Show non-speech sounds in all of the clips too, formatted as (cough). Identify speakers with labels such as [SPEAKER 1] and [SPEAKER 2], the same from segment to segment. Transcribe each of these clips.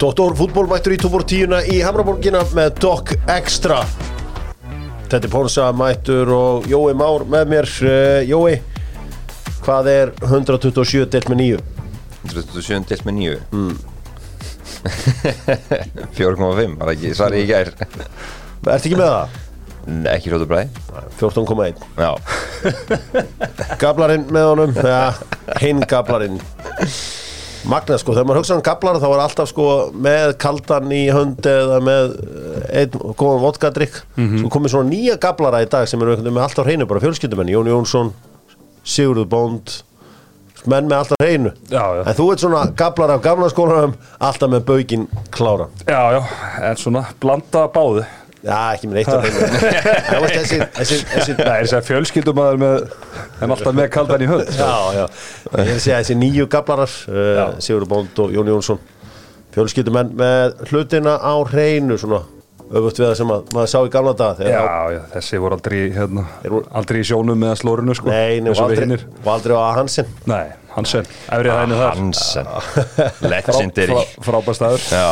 [SPEAKER 1] Dóttor fútbólmættur í tófór tíuna í Hamraborgina með Doc Extra Tetti Pónsa mættur og Jói Már með mér Eh, Jói, hvað er 127 delt með 9?
[SPEAKER 2] 127 delt með 9 (laughs) 4,5 var ekki svarið í gær
[SPEAKER 1] Ertu ekki með það?
[SPEAKER 2] Nei, ekki hrótu bræði
[SPEAKER 1] 14,1
[SPEAKER 2] Já,
[SPEAKER 1] Gablarinn með
[SPEAKER 3] (laughs)
[SPEAKER 1] honum ja, Hinn gablarinn Magna sko, þegar maður hugsa um gablar þá er alltaf sko með kaldan í hönd eða með eh, einn góðan vodkadrykk
[SPEAKER 3] Mhm.
[SPEAKER 1] Svo komið svona nýja gablara í dag sem eru einhvern veginn með alltaf hreinu bara fjölskyldumenn Jón Jónsson, Sigurður Bónd menn með alltaf hreinu
[SPEAKER 3] Já, já.
[SPEAKER 1] En þú ert svona gablar af gamla skólanum alltaf með baukinn klára
[SPEAKER 3] Já, já, en svona blanda af báðu
[SPEAKER 1] Já, ekki með eitt af hreinu
[SPEAKER 3] (laughs)
[SPEAKER 1] Það var þessi, þessi, þessi
[SPEAKER 3] Það er þess að fjölskyldumæður með en alltaf með kaldan í sko. hönd
[SPEAKER 1] Já, já, ég er að segja þessi nýju gablarar uh, Sigurður Bónd og Jón Jónsson fjölskyldumenn með hlutina á hreinu svona öfugt við það sem að, maður sá í gamla daga
[SPEAKER 3] Já,
[SPEAKER 1] þegar
[SPEAKER 3] já, þessi voru aldrei hérna,
[SPEAKER 1] Þeir voru-
[SPEAKER 3] aldrei í sjónum með slórinu sko,
[SPEAKER 1] Nei, nei, og
[SPEAKER 3] eins og við
[SPEAKER 1] aldrei,
[SPEAKER 3] hinnir
[SPEAKER 1] og aldrei á Hansen
[SPEAKER 3] Nei, Hansen, efrið hægni þar
[SPEAKER 2] Hansen
[SPEAKER 3] Frá-
[SPEAKER 2] Legendary
[SPEAKER 3] frá- Frábær staður
[SPEAKER 2] Já,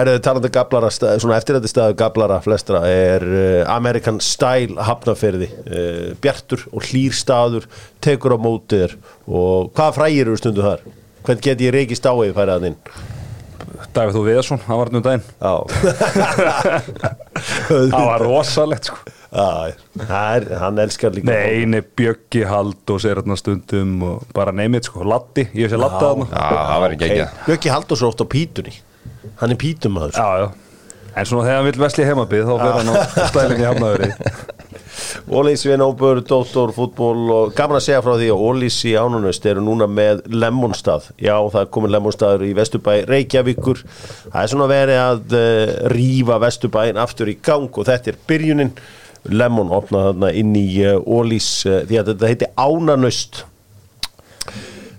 [SPEAKER 1] Er þið talandi um gablara, stað- svona eftirrætti staðu gablara flestra er uh, American Style hafnaferði, uh, bjartur og hlýr staður, tekur á mótið þér og hvað frægir eru stundu þar? Hvern get ég reikist á eða færið að þinn?
[SPEAKER 3] Davíð Þú Viðarsson, hann var nú daginn
[SPEAKER 1] (laughs)
[SPEAKER 3] (laughs)
[SPEAKER 1] Já
[SPEAKER 3] Það var rosalegt sko
[SPEAKER 1] Já, það er, hann elskar líka
[SPEAKER 3] Nei, eini Bjöggi Hald og sér hérna stundum og bara neymið sko, Latti, ég sé Latta
[SPEAKER 2] Já,
[SPEAKER 3] þarna
[SPEAKER 2] það var ekki ekki
[SPEAKER 1] Bjöggi Halldórs er oft á pítunni Hann er pítumaður sko.
[SPEAKER 3] Já, já En svona þegar hann vil vesli heimabið þá fyrir hann á stælinni hafnaðurinn
[SPEAKER 1] Ólís Vinóbur, Dóttor, Fútból og gaman að segja frá því að Ólís í Ánunust eru núna með Lemonstað Já, það er komin Lemonstaður í Vesturbæ Reykjavíkur Það er svona verið að uh, rífa Vesturbæin aftur í gang og þetta er byrjunin Lemon opnaði þarna inn í uh, Ólís uh, því að þetta heiti Ánanust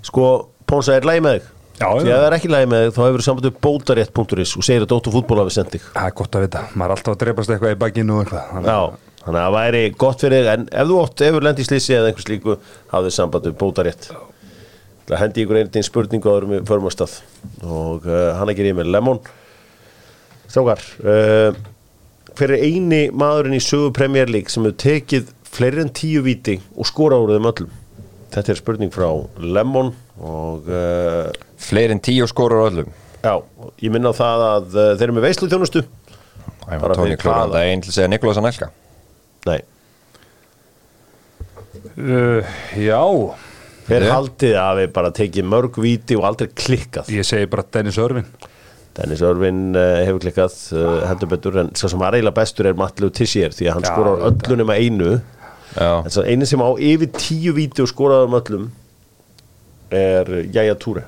[SPEAKER 1] Sko, Pónsa er lægi með þig
[SPEAKER 3] Já, já.
[SPEAKER 1] Því að það er ekki lægi með þig, þá hefur samband við bótarétt.is og segir að Dóttor Fútból hafi sendt þig
[SPEAKER 3] Það er gott að vita, maður er alltaf að dreipast eitthvað í bakinu og eitthvað Þannig-
[SPEAKER 1] Já, þannig að það væri gott fyrir þig, en ef þú ótt hefur lendið slísi eða einhvers líku hafðu samband við bótarétt Það hendi ykkur einnig spurningu áður með förmastað og uh, hann ekki reyði með Lemon Strákar uh, Hver er eini maðurinn í sögu Premier League sem hefur tekið fleiri en tíu viti og skora úr þeim öllum? Þetta er spurning frá Lemon og uh,
[SPEAKER 2] Fleiri en 10 skórur á öllum
[SPEAKER 1] já, ég minna á það að uh, þeir eru með veisluþjónustu
[SPEAKER 2] Það
[SPEAKER 1] Bara
[SPEAKER 2] var Tóni
[SPEAKER 1] fyrir hvaða?
[SPEAKER 2] Klóran, það er einn til að segja Nikolás Anelka
[SPEAKER 1] Nei,
[SPEAKER 3] Uh, já,
[SPEAKER 1] hver
[SPEAKER 2] Ég?
[SPEAKER 1] haldið að við bara tekið mörg viti og aldrei klikkað
[SPEAKER 3] ég segi bara Dennis Örvin
[SPEAKER 1] Dennis Örvin uh, hefur klikkað uh, heldur betur en sá sem var eiginlega bestur er Matlu Tissier því að hann
[SPEAKER 3] Já,
[SPEAKER 1] skorar öllu nema einu
[SPEAKER 2] Já,
[SPEAKER 1] en svo einu sem á yfir tíu víti og skoraði um öllum er Jæja Túre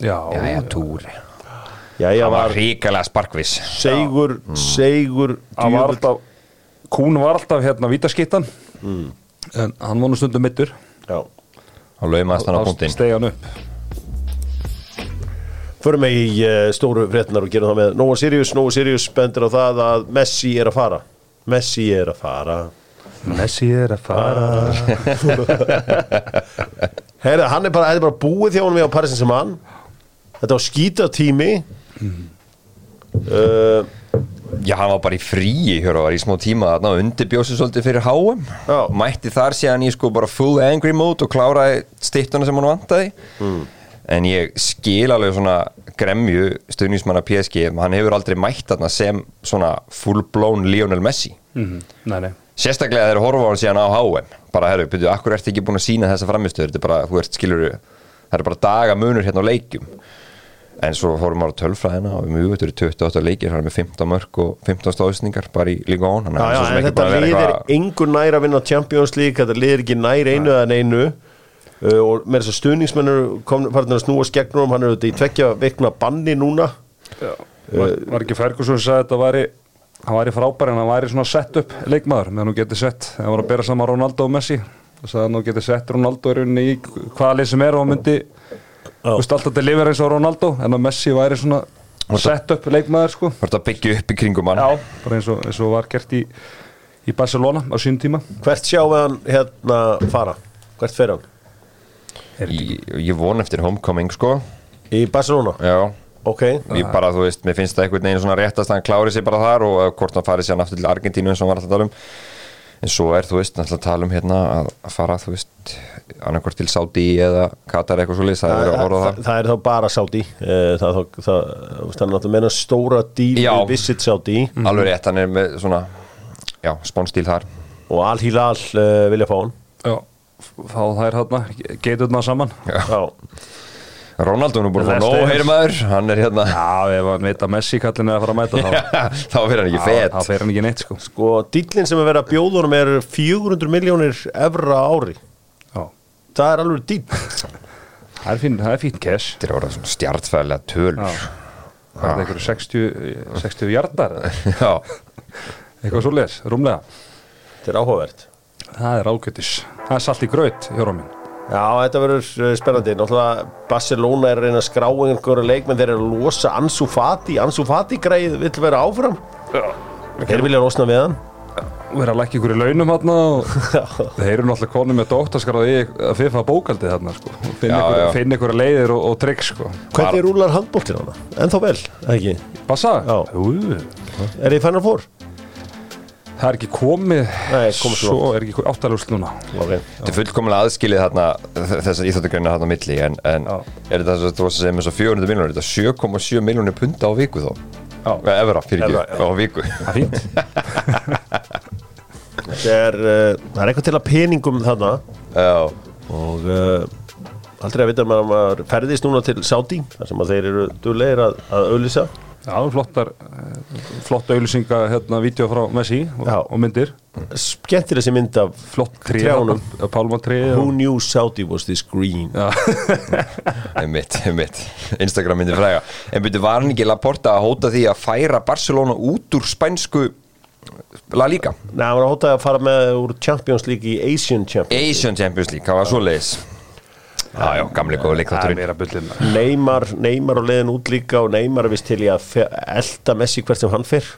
[SPEAKER 3] Já,
[SPEAKER 2] já, já, Túri
[SPEAKER 1] Jæja
[SPEAKER 2] Það var
[SPEAKER 1] var
[SPEAKER 2] ríkalega sparkvis
[SPEAKER 1] segur, segur
[SPEAKER 3] Mm. hann
[SPEAKER 1] djöfull-
[SPEAKER 3] var alltaf Kún var alltaf hérna vítaskittan
[SPEAKER 2] Mm.
[SPEAKER 3] En hann var nú stundum mittur
[SPEAKER 1] Já.
[SPEAKER 2] Og laumast hann á punktin
[SPEAKER 3] stegi hann upp
[SPEAKER 1] Förum við í uh, stóru fréttinar og gerum það með Nóa Sirius, Nóa Sirius bendur á það að Messi er að fara Messi er að fara
[SPEAKER 3] Messi er að fara
[SPEAKER 1] Heyrðu, hann er bara, þetta er bara búið þjá hann við á Paris Saint-Germain Þetta var skítatími uh,
[SPEAKER 2] Já, hann var bara í fríi, hjóra, var í smó tíma þarna og undirbjósi svolítið fyrir HM
[SPEAKER 1] Já.
[SPEAKER 2] Mætti þar síðan í sko bara full angry mode og kláraði stittuna sem hann vantaði En ég skil alveg svona gremju stuðnismanna PSG Hann hefur aldrei mætt þarna sem svona full blown Lionel Messi
[SPEAKER 3] Mhm, Nei, nei
[SPEAKER 2] Sérstaklega þegar horfa á hann síðan á HM bara herru, byrju, akkur ertu ekki búin að sína þessa framistöður þetta er bara, þú ert skilur það er bara daga munur hérna á leikjum en svo fórum maður á tölfræðina og mjög veitur í 28 leikir, hann er með 15 mörg og 15 stóðsningar bara í líka án
[SPEAKER 1] já, já, en þetta lið er engu nær að vinna Champions League, þetta lið er ekki nær einu en einu uh, og með þess að stuðningsmennur farin að snúa skegnum hann er auðvitað í tvekja vikna banni núna
[SPEAKER 3] Var,
[SPEAKER 2] Eh.
[SPEAKER 3] var ekki Ferguson sem sagði að þetta væri hann væri frábær en hann væri svona sett upp leikmaður meðan hún geti sett hann var að bera saman Ronaldo og Messi og sagði að hún geti sett Ronaldo í rauninni í hvaða lið sem er og hann myndi þú veist alltaf til lifir eins og Ronaldo en að Messi væri svona sett upp leikmaður sko
[SPEAKER 2] Þú ert að byggja upp í kringum hann
[SPEAKER 3] já, bara eins og, eins og var gert í í Barcelona á sínum tíma
[SPEAKER 1] hvert sjáum við hann hérna fara hvert fer hann?
[SPEAKER 2] ég, ég von eftir homecoming sko
[SPEAKER 1] Í Barcelona?
[SPEAKER 2] já,
[SPEAKER 1] ok,
[SPEAKER 2] Ég bara, þú veist, mér finnst það einhvern veginn svona réttast að hann klári sér bara þar og eh, hvort hann farið sér aftur til Argentínu eins og hann var alltaf að tala um en svo er, þú veist, alltaf að tala um hérna að að fara, þú veist, annarkvort til Saudi eða Katar eitthvað svo leys það er að horfa
[SPEAKER 1] það,
[SPEAKER 2] það
[SPEAKER 1] það er þá bara Saudi eh, það, það, það, það er náttúrulega meina stóra díl
[SPEAKER 2] Já.
[SPEAKER 1] við Visit Saudi
[SPEAKER 2] alveg rétt, hann er með svona já, sponstíl þar
[SPEAKER 1] og Al-Hilal uh, vilja fá hann
[SPEAKER 3] Já, fá þær hérna, geiturna saman
[SPEAKER 1] Já,
[SPEAKER 2] Ronaldo er nú búin að fá
[SPEAKER 3] Last
[SPEAKER 2] nóg,
[SPEAKER 3] dance.
[SPEAKER 2] heyri maður, hann er hérna
[SPEAKER 3] Já, ef hann veit að Messi kallin er að fara að mæta þá
[SPEAKER 2] (laughs) þá fyrir hann ekki
[SPEAKER 3] Þá
[SPEAKER 2] fett
[SPEAKER 3] fer hann ekki neitt sko
[SPEAKER 1] sko, dílinn sem er verið að bjóða honum er 400 miljónir evra á ári
[SPEAKER 3] Já.
[SPEAKER 1] það er alveg díl
[SPEAKER 3] Það er fín, það er fín cash
[SPEAKER 2] þetta er orðað svona stjartfæðilega tölur
[SPEAKER 3] Já. Það er einhverju 60, 60 hjartar eða
[SPEAKER 2] já,
[SPEAKER 3] eitthvað svo les, rúmlega
[SPEAKER 1] þetta er áhugavert
[SPEAKER 3] Það er ágætis, það er salt í graut hjóra minn
[SPEAKER 1] Já, þetta verður eh, spennandi Náttúrulega Barcelona er að reyna að skrá einhverju leikmenn þeir eru að losa Ansu Fati Ansu Fati greið vill vera áfram Þeir vilja losna við hann
[SPEAKER 3] Við erum að lækja ykkur í launum hérna og þeir eru náttúrulega konum með dóttaskarað í að FIFA bókaldið hérna sko og
[SPEAKER 2] Já,
[SPEAKER 3] finna ykkur,
[SPEAKER 2] já.
[SPEAKER 3] finna ykkur leiðir og, og trygg sko
[SPEAKER 1] Hvernig rúlar handbóltinn hana? En þá vel, eða ekki
[SPEAKER 3] Passa?
[SPEAKER 1] Já.
[SPEAKER 3] Jú.
[SPEAKER 1] Er þið fennar fór?
[SPEAKER 3] Það er ekki komið
[SPEAKER 1] Nei, komið svo
[SPEAKER 3] Svo er ekki áttalúst núna
[SPEAKER 1] Ok
[SPEAKER 2] Þetta er fullkomlega aðskilið þarna þessar íþjóttugreina þarna á milli en, en
[SPEAKER 3] Já.
[SPEAKER 2] er þetta svo- þú varst að segja með svo 400 miljónir þetta er 7,7 miljónir punta á viku þá
[SPEAKER 3] Já.
[SPEAKER 2] Eh, Evra, fyrir
[SPEAKER 1] Evra, já.
[SPEAKER 2] ekki, á viku
[SPEAKER 3] Það er fínt
[SPEAKER 1] Þetta er, uh, það er eitthvað til að peningum þarna
[SPEAKER 2] Já,
[SPEAKER 1] og uh, aldrei að vita um að maður ferðist núna til Saudi þar sem að þeir eru duðlegir að, að auðlýsa
[SPEAKER 3] Já, flottar eh, flott auðlýsinga hérna, vídeo frá Messi og,
[SPEAKER 1] Já.
[SPEAKER 3] og myndir
[SPEAKER 1] Skemmtileg sem mynd af
[SPEAKER 3] flott tré,
[SPEAKER 1] Trjánum.
[SPEAKER 3] pálmatré
[SPEAKER 1] Who knew Saudi was this green?
[SPEAKER 2] einmitt, einmitt Instagram myndi fræga En byrju, var hann ekki Laporta að hóta því að færa Barcelona út úr spænsku La Liga
[SPEAKER 1] Nei, hann var að hótaði að fara með úr Champions League í Asian Champions
[SPEAKER 2] Asian Champions League, hvað var svo leiðis? Já, já, gamli góðu leik
[SPEAKER 3] Það er
[SPEAKER 2] þátturinn
[SPEAKER 3] meira bullin
[SPEAKER 1] Neymar, Neymar og leiðin út líka og Neymar er vist til í að fe- elta Messi hvert sem hann fer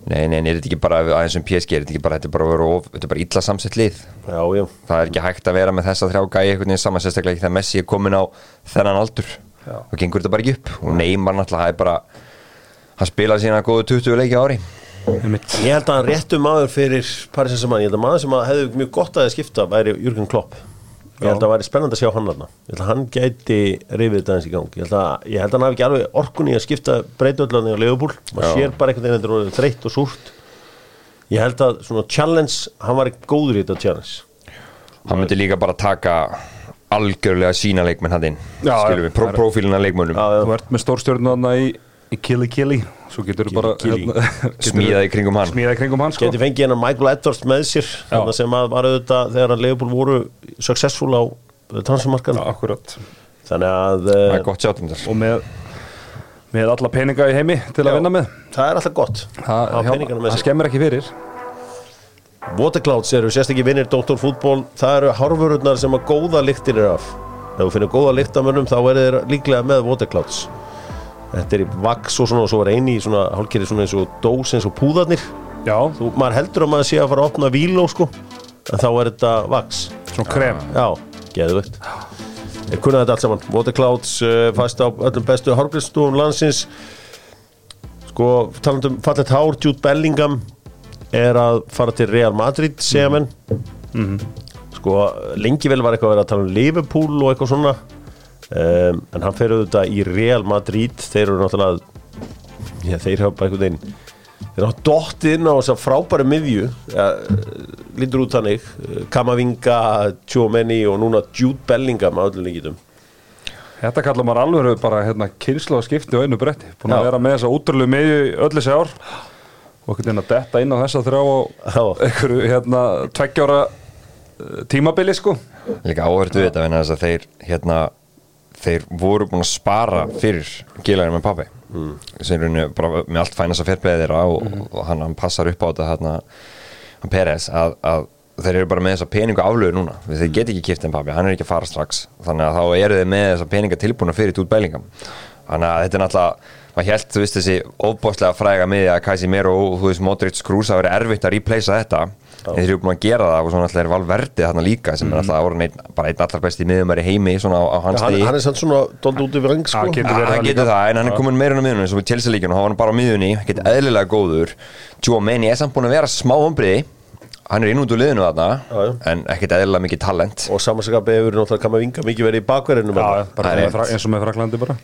[SPEAKER 2] Nei, nei, nei, er þetta ekki bara aðeins um PSG, er þetta ekki bara, þetta er bara, bara, of, þetta er bara illa samsett lið
[SPEAKER 1] Já, já,
[SPEAKER 2] það er ekki hægt að vera með þessa þrjá gæi einhvern veginn saman sérstaklega ekki þegar Messi er komin á þennan aldur
[SPEAKER 3] Já.
[SPEAKER 2] og gengur þetta bara ekki upp og Neymar náttúrulega það er bara hann spilaði sína góðu 20 leiki á ári
[SPEAKER 1] ég held að hann réttu maður fyrir Paris Saint-Germain, ég held að maður sem að hefði mjög gott að þið skipta væri Jürgen Klopp ég held að það væri spennandi að sjá hann þarna ég held að hann gæti rifið þetta eins í gang ég held að, ég held að hann hafi ekki alveg orkunni að skipta breytöldlandi á Leopold maður
[SPEAKER 2] Já.
[SPEAKER 1] sér bara einhvern veginn þetta er orðið þreytt og súrt ég held að svona challenge hann var góður í þetta challenge
[SPEAKER 2] hann myndi líka bara taka algjörlega sína leikmenn hann inn
[SPEAKER 3] Já,
[SPEAKER 2] skilum við,
[SPEAKER 3] já.
[SPEAKER 2] pró prófílina leikmennum
[SPEAKER 1] já, já.
[SPEAKER 3] Þú ert með stórstjörnum þarna í, í Kili Kili Svo getur þú bara hérna,
[SPEAKER 1] Kili.
[SPEAKER 3] (laughs) geturðu
[SPEAKER 2] smíðaði kringum hann
[SPEAKER 3] smíðað í kringum hann sko
[SPEAKER 1] geti fengið hennar Michael Edwards með sér þarna sem að var auðvitað þegar að Leopold voru successful á transfermarkan
[SPEAKER 3] Akkurat
[SPEAKER 1] þannig að
[SPEAKER 2] það
[SPEAKER 1] eh,
[SPEAKER 2] er gott sjátum þar
[SPEAKER 3] Og með, með alla peninga í heimi til að vinna með
[SPEAKER 1] það er alltaf gott
[SPEAKER 3] Það,
[SPEAKER 1] hafa
[SPEAKER 3] hjá-
[SPEAKER 1] peningana með
[SPEAKER 3] það
[SPEAKER 1] sér
[SPEAKER 3] skemmir ekki fyrir
[SPEAKER 1] Waterclouds eru sérstakki vinnir Dr. Fútból það eru harfururnar sem að góða lyktir er af ef þú finnir góða lyktamönnum þá eru þeir líklega með Waterclouds þetta er í vaks og svona og svo er eini í svona hálkeri svona eins og dós eins og púðarnir
[SPEAKER 3] Já,
[SPEAKER 1] þú, maður heldur að maður sé að fara að opna víló sko en þá er þetta vaks
[SPEAKER 3] svona krem
[SPEAKER 1] Já, geðvögt Ég kunnaði þetta allt saman Waterclouds, uh, fast á öllum bestu hárgriðstofum landsins Sko, talandum fallet hár Jude Bellingham er að fara til Real Madrid, segja menn Sko, lengi vel var eitthvað að vera að tala um Liverpool og eitthvað svona um, En hann fer auðvitað í Real Madrid Þeir eru náttúrulega Já, þeir hafa bara einhvern veginn Þeir hafa dottið inn á þess að frábæri miðju ja, Lítur út þannig eh, Kamavinga, Tjómeni og núna Jude Bellingham að öllum líkitum
[SPEAKER 3] Þetta kallar maður alveg bara hérna, kynslu skipti á einu bretti Búin
[SPEAKER 1] Já.
[SPEAKER 3] að vera með þessa útrúlu miðju í öll þessi ár og ekkert einn að detta inn á þessa þrjá
[SPEAKER 1] Já.
[SPEAKER 3] og einhverju hérna tveggjára eh, tímabili sko
[SPEAKER 2] líka áhörtu við þetta vegna þess að þeir hérna, þeir voru búin að spara fyrir gílarinn með pappi mm. sem rauninu bara með allt fænast að fyrrbæði þeirra og, og hann, hann passar upp á þetta hérna, hann Peres að, að þeir eru bara með þessa peninga aflöðu núna þeir get ekki kipta en pappi, hann er ekki að fara strax þannig að þá eru þeir með þessa peninga tilbúna fyrir tút bælingam, þannig að þetta er náttúrulega maður held, þú veist þessi óbóðslega fræga miðja að Kæsi Mero og þú veist Modric Krús að vera erfitt að replacea þetta en þeir eru búin að gera það og svona alltaf er valverdi þarna líka sem er alltaf að voru einn, bara einn allra besti miðumæri heimi svona á, á hans
[SPEAKER 1] Mhm. hann,
[SPEAKER 2] degi
[SPEAKER 1] hann er samt svona dold út yfir reng sko
[SPEAKER 3] Já, getur
[SPEAKER 2] Ja,
[SPEAKER 3] verið
[SPEAKER 2] hann
[SPEAKER 3] það
[SPEAKER 2] getur
[SPEAKER 3] líka.
[SPEAKER 2] það, en hann er komin meira inn á miðunni eins og við Chelsea líkjum og hann var bara á miðunni getur
[SPEAKER 1] Mhm.
[SPEAKER 2] eðlilega góður Tjó Meni er samt búin að vera smá ombriði hann er inn út úr liðinu þarna
[SPEAKER 1] Já,
[SPEAKER 2] en ekkert eðlilega mikið talent
[SPEAKER 1] og samanskapið hefur náttúrulega kam að vinga mikið verið í bakverðinu
[SPEAKER 3] Já, já, bara
[SPEAKER 2] Það er
[SPEAKER 3] með
[SPEAKER 2] rétt.
[SPEAKER 3] Fra- eins og með Fraklandi bara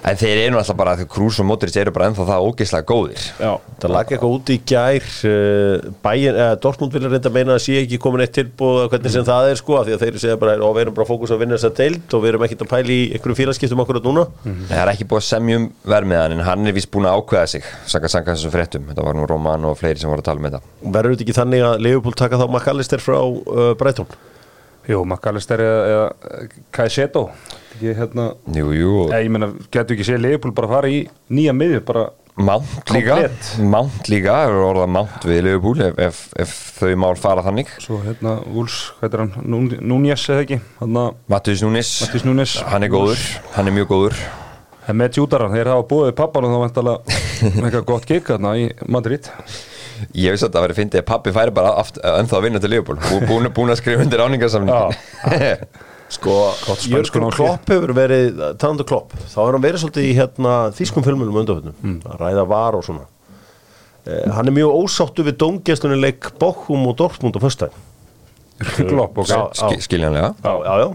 [SPEAKER 2] en þeir eru alltaf bara, þegar Krús og Modric eru bara ennþá það ógeðslega góðir
[SPEAKER 3] Já,
[SPEAKER 1] Það lag eitthvað úti í gær uh, bæin, uh, Dortmund vilja reynda meina að sé ekki komin eitt tilbúð að hvernig sem það er sko af því að þeir segja bara og við erum bara fókus að vinna þess að deild og við erum ekkert að pæli í einhverjum félagskiptum akkurat núna
[SPEAKER 2] það er ekki búið að semjum vermiðan en hann er vist búin að ákveða sig sanga sanga þessum fréttum, þetta var nú Roman og fleiri sem voru að tala með þetta
[SPEAKER 1] Verður þetta ekki þannig að Leopold taka þá McAllister frá uh, Brighton?
[SPEAKER 3] jú, Makalister eða, eða Kaiseto Ég hérna
[SPEAKER 2] Jú, jú, og
[SPEAKER 3] Ég, ég meina, getur ekki séð Leifbúl bara að fara í nýja miðju bara
[SPEAKER 2] Mount líka
[SPEAKER 3] Komplett.
[SPEAKER 2] Mount líka, er orðað Mount við Liverpool ef, ef, ef þau mál fara þannig
[SPEAKER 3] svo hérna Úls, hvað er hann, Nún- Núñez eða ekki hérna,
[SPEAKER 2] Matthijs Núnes,
[SPEAKER 3] Matthijs Núñez.
[SPEAKER 2] hann er góður, hann er mjög góður
[SPEAKER 3] en með Júdaran, þeir hafa búið pappan og þá (laughs) vantalega eitthvað gott gig hérna í Madrid
[SPEAKER 2] Ég vissi að það verið fyndið að pappi færi bara aft, ennþá að vinna til Leopold Bú, búin, búin að skrifa undir áningarsamning (laughs)
[SPEAKER 1] Sko,
[SPEAKER 3] spænsku
[SPEAKER 1] Jörgur
[SPEAKER 3] náttúrulega.
[SPEAKER 1] Klopp hefur verið talandu Klopp, þá hefur hann verið svolítið í hérna, þýskum filmunum undanfjöndum að ræða var og svona uh, Hann er mjög ósáttu við dómgæslunuleik Bochum og Dortmund á föstudaginn
[SPEAKER 3] Klopp, ok
[SPEAKER 1] Já,
[SPEAKER 2] Ski, Skiljanlega
[SPEAKER 1] já, já, já.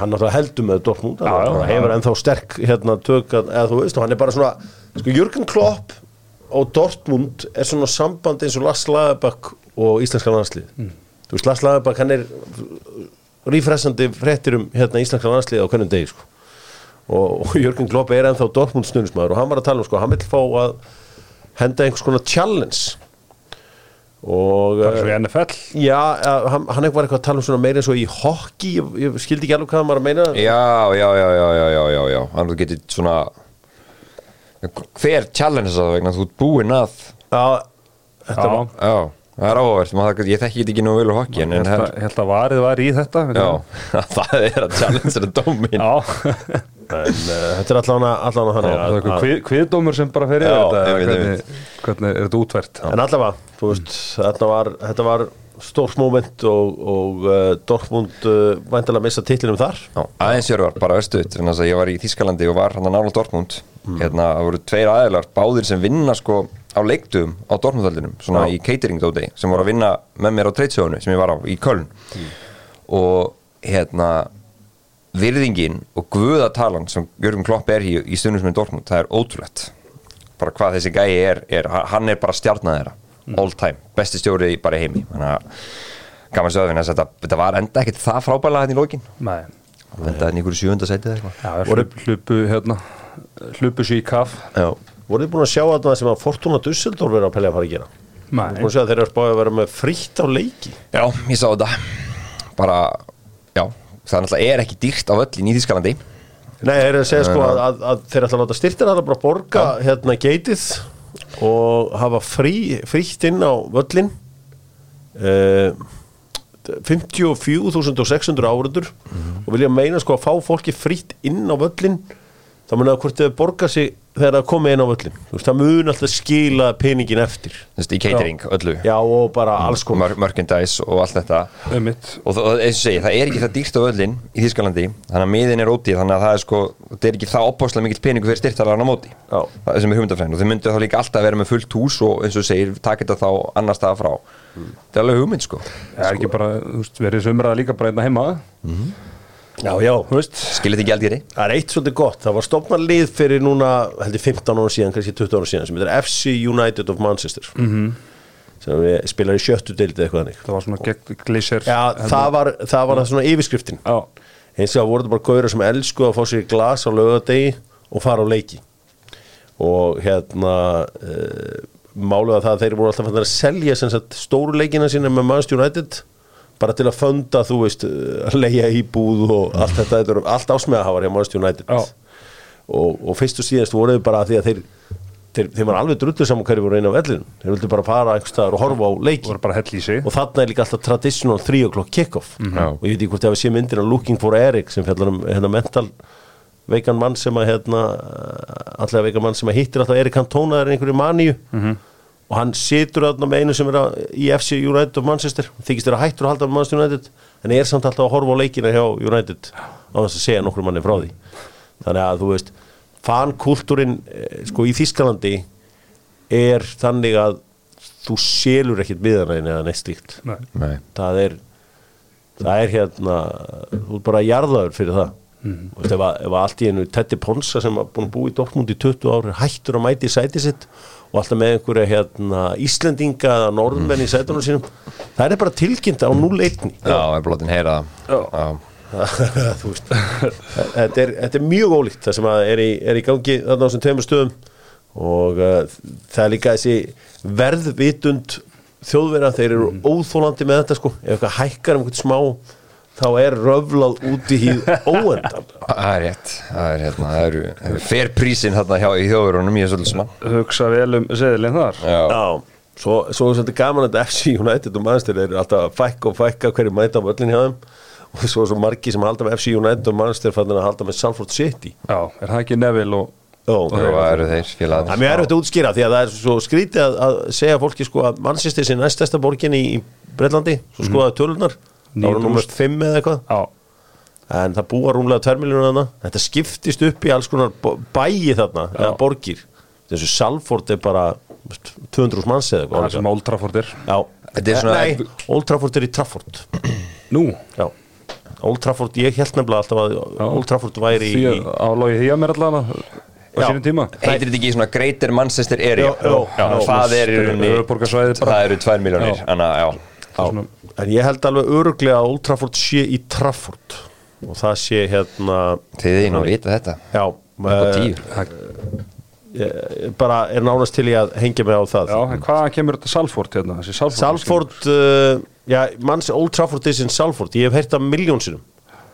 [SPEAKER 1] hann náttúrulega heldur með Dortmund já,
[SPEAKER 3] Já, já,
[SPEAKER 1] hann
[SPEAKER 3] já.
[SPEAKER 1] hefur ennþá sterk hérna, tök að, eða þú veist og hann er bara svona, sko Jürgen Klopp og Dortmund er svona samband eins og Lars Lagerbakk og íslenska landslið þú veist Lars Lagerbakk hann er rífressandi fréttir um hérna, íslenska landslið á hvernig degi sko. og, og Jürgen Klopp er ennþá Dortmund snurnismæður og hann var að tala um sko, hann vil fá að henda einhvers konar challenge og
[SPEAKER 3] bara svo í NFL
[SPEAKER 1] Já, eh, hann, hann var eitthvað að tala um svona meira eins og í hockey, ég, ég skildi ekki alveg hvað hann var að meina
[SPEAKER 2] Já, já, já, já, já, já, já, já Hann getur svona Hver challenge það vegna þú ert búinn að
[SPEAKER 1] Já,
[SPEAKER 3] Já,
[SPEAKER 1] þetta var
[SPEAKER 2] Já, það er áhverð maður, Ég þekki þetta ekki nú vel á hockey en,
[SPEAKER 3] ég
[SPEAKER 2] en
[SPEAKER 3] held
[SPEAKER 2] það,
[SPEAKER 3] að- ég held að varið var í þetta veit
[SPEAKER 2] Já,
[SPEAKER 3] það.
[SPEAKER 2] (laughs) það er að challenge er að dómin
[SPEAKER 3] já.
[SPEAKER 1] en, uh, Þetta er allan að, allan að hann
[SPEAKER 3] það er
[SPEAKER 1] að,
[SPEAKER 3] eitthvað kvið- kviðdómur sem bara fer í
[SPEAKER 2] Já,
[SPEAKER 3] þetta eða
[SPEAKER 2] einmitt,
[SPEAKER 3] hvernig, hvernig er þetta útvært
[SPEAKER 1] En allavega, þú veist, þetta var, þetta var stórt moment og, og uh, Dortmund uh, væntalega missa titlinum þar
[SPEAKER 2] Já, aðeins Jörvar, bara östuðt þannig að ég var í Þískalandi og var hann að nála Dortmund hérna, það voru tveir aðeilar, báðir sem vinna sko á leiktum á Dortmundaldinum svona
[SPEAKER 1] Já.
[SPEAKER 2] í catering dóti, sem voru að vinna með mér á treytsöðunu sem ég var á, í Köln og hérna virðingin og guðatalan sem Jörgum Klopp er í, í stundum sem er Dortmund, það er ótrúlegt bara hvað þessi gæi er, er hann er bara stjarnar þeirra, all time besti stjóri bara í heimi þannig að gaman stöðvinn að þetta, þetta var enda ekkert það frábæla hérna í lokin
[SPEAKER 3] Nei,
[SPEAKER 2] Það vendaði hann í einhverju sjönda sætið eða eitthvað
[SPEAKER 3] já, hlup, hlupu hérna hlupu sér í kaff
[SPEAKER 2] Já,
[SPEAKER 1] Voruð þið búin að sjá að það sem að Fortuna Dusseldorf er að pelja að fara að gera?
[SPEAKER 3] Nei.
[SPEAKER 1] Búin að sjá að þeir eru spáðið að vera með frítt á leiki
[SPEAKER 2] já ég sá þetta Bara, já, það náttúrulega er ekki dýrt á öllin í Þískalandi
[SPEAKER 1] Nei, þeir eru að segja sko að, að, að þeir ætla að láta styrtir að bara borga hérna geitið og hafa frí, frítt inn á völlin uh, 54.600 árendur og vilja meina sko að fá fólki frítt inn á völlin þá mun að hvort þau borga sig þegar það komið inn á völlin Þú veist, það mun alltaf skila peningin eftir
[SPEAKER 2] Þú veist, í catering, öllu
[SPEAKER 1] já og bara alls konar
[SPEAKER 2] Mer Merchandise og allt þetta
[SPEAKER 3] Einmitt.
[SPEAKER 2] Og það, eins og segi, það er ekki það dýrt á öllin í Þískalandi Þannig að miðin er ódýr, þannig að það er sko Það er ekki það opbáslega mikill peningur fyrir styrtalarna á móti
[SPEAKER 1] Já.
[SPEAKER 2] Það er sem er hugmyndafræðin Og þeir myndu þá líka alltaf vera með fullt hús Og eins og segir, taka þetta þá annars staða frá
[SPEAKER 1] Mm.
[SPEAKER 2] Það er alveg hugmynd sko
[SPEAKER 3] Það er ekki bara, þú veist, verið þessu umræða líka bara einna heima
[SPEAKER 1] já já,
[SPEAKER 3] Þú veist,
[SPEAKER 2] Skilir þetta ekki
[SPEAKER 1] Það er eitt svolítið gott, það var stofnað lið fyrir núna, heldur 15 ára síðan, kannski 20 ára síðan, sem þetta er FC United of Manchester -hmm. sem við spilar í sjöttu deildið eitthvað þannig.
[SPEAKER 3] það var svona gegn glísir
[SPEAKER 1] Já, það var, það var það svona yfirskriftin.
[SPEAKER 3] Já,
[SPEAKER 1] Hins vegar voru þetta bara gauður sem elsku að fá sér í glas á lögadegi og fara á leiki. Og hérna, uh, málið að það að þeir voru alltaf fannir að selja sem sagt, stóru leikina sína með Manchester United bara til að funda, þú veist, eh, að leia íbúð og allt þetta, þetta er allt ásmæðahafar hjá Manchester United
[SPEAKER 3] já,
[SPEAKER 1] og, og fyrst og síðast voru þau bara að því að þeir þeir, þeir var alveg drullu saman hverju voru einu á vellinum þeir vildu bara fara einhvers staðar og horfa á leiki
[SPEAKER 3] voru bara hell í sig
[SPEAKER 1] og þarna er líka alltaf traditional 3 o'clock kickoff og ég veit ekki hvort ég hafi sé myndir að Looking for Eric sem fjallar um hérna, mental veikan mann sem að hérna, allega veikan mann sem að hittir alltaf Eric Cantona er í einhverju maníu og hann situr þarna með einu sem er að, í FC United of Manchester þykist þér að hættur að halda með Manchester United en er samt alltaf að horfa á leikina hjá United á þess að segja nokkrum manni frá því þannig að þú veist fankultúrin eh, sko í Þískalandi er þannig að þú selur ekkit miðanægin eða neitt slíkt
[SPEAKER 3] Nei.
[SPEAKER 2] Nei.
[SPEAKER 1] það er það er hérna, þú er bara jarðaður fyrir það og ef, að- ef að allt í einu Teddy Ponsa sem var búin að búa í Dortmund í 20 ári hættur að mæti í sæti sitt og alltaf með einhverja hérna, Íslendinga eða norðmenn í sætunum sínum það er bara tilkynnt á 0-1
[SPEAKER 2] Já, ég er blótin heyra það Já.
[SPEAKER 1] (laughs) þú veist þetta er, þetta er mjög ólíkt það sem að er, í, er í gangi þarna á þessum tveimur stöðum og uh, það er líka þessi verðvitund þjóðverða, þeir eru óþólandi með þetta sko, ef eitthvað hækkar um eitthvað smá þá er röflað út í hýð óendan
[SPEAKER 2] Það er rétt, það er hérna, það eru það eru fair prísin hérna hjá í þjóðurunum í þessu öllu saman.
[SPEAKER 3] hugsa vel um seðilinn þar
[SPEAKER 2] Já,
[SPEAKER 1] Já, svo, svo er svolítið gaman að FC United og Manchester þeir eru alltaf að fækka og fækka hverju mæta á völlin hjá þeim og svo er svo margi sem halda með FC United og Manchester fannin að halda með Salford City
[SPEAKER 3] Já, er það ekki Neville og
[SPEAKER 1] Ó,
[SPEAKER 2] og það eru þeir
[SPEAKER 1] Það er
[SPEAKER 2] félagarnir.
[SPEAKER 1] mjög erfitt að útskýra því að það er svo skrítið að, að segja fólki sko að Manchester sé næstesta borgin í, í Breitlandi, svo skoðaði tölunar það voru
[SPEAKER 3] 9.000.
[SPEAKER 1] nummer 5 eða eitthvað
[SPEAKER 3] Já,
[SPEAKER 1] en það búa rúmlega 2 miljónur þarna þetta skiptist upp í alls konar bo- bæi þarna, eða borgir þessu Salford er bara þú veist, 200 manns eða
[SPEAKER 3] það
[SPEAKER 1] eitthvað
[SPEAKER 3] sem Old Trafford er
[SPEAKER 1] Já, Eh,
[SPEAKER 2] Þetta er svona-
[SPEAKER 1] nei, Old Trafford er í Trafford
[SPEAKER 3] Nú,
[SPEAKER 1] Já, Old Trafford, ég held nefnilega alltaf að Old Trafford væri
[SPEAKER 3] því
[SPEAKER 1] í,
[SPEAKER 3] að álógi því að mér allan á
[SPEAKER 1] Já.
[SPEAKER 3] sínum tíma
[SPEAKER 2] Heitir þetta ekki svona Greater Manchester Area?
[SPEAKER 1] Jó, jó,
[SPEAKER 2] já,
[SPEAKER 1] jó.
[SPEAKER 2] það er í rauninni,
[SPEAKER 3] Höfuðborgarsvæðið bara.
[SPEAKER 2] það eru 2 miljónir,
[SPEAKER 3] Já.
[SPEAKER 2] þannig að já.
[SPEAKER 1] Já, en ég held alveg öruglega að Old Trafford sé í Trafford og það sé hérna
[SPEAKER 2] Þið einu að vita þetta.
[SPEAKER 1] já,
[SPEAKER 2] Upp á
[SPEAKER 1] eh,
[SPEAKER 2] tíu.
[SPEAKER 1] ég bara er nánast til í að hengja mig á það
[SPEAKER 3] Já, en hvaðan kemur þetta Salford hérna? Þessi Salford,
[SPEAKER 1] Salford uh, já, manns, Old Trafford er sinn Salford ég hef heyrt það miljónsinum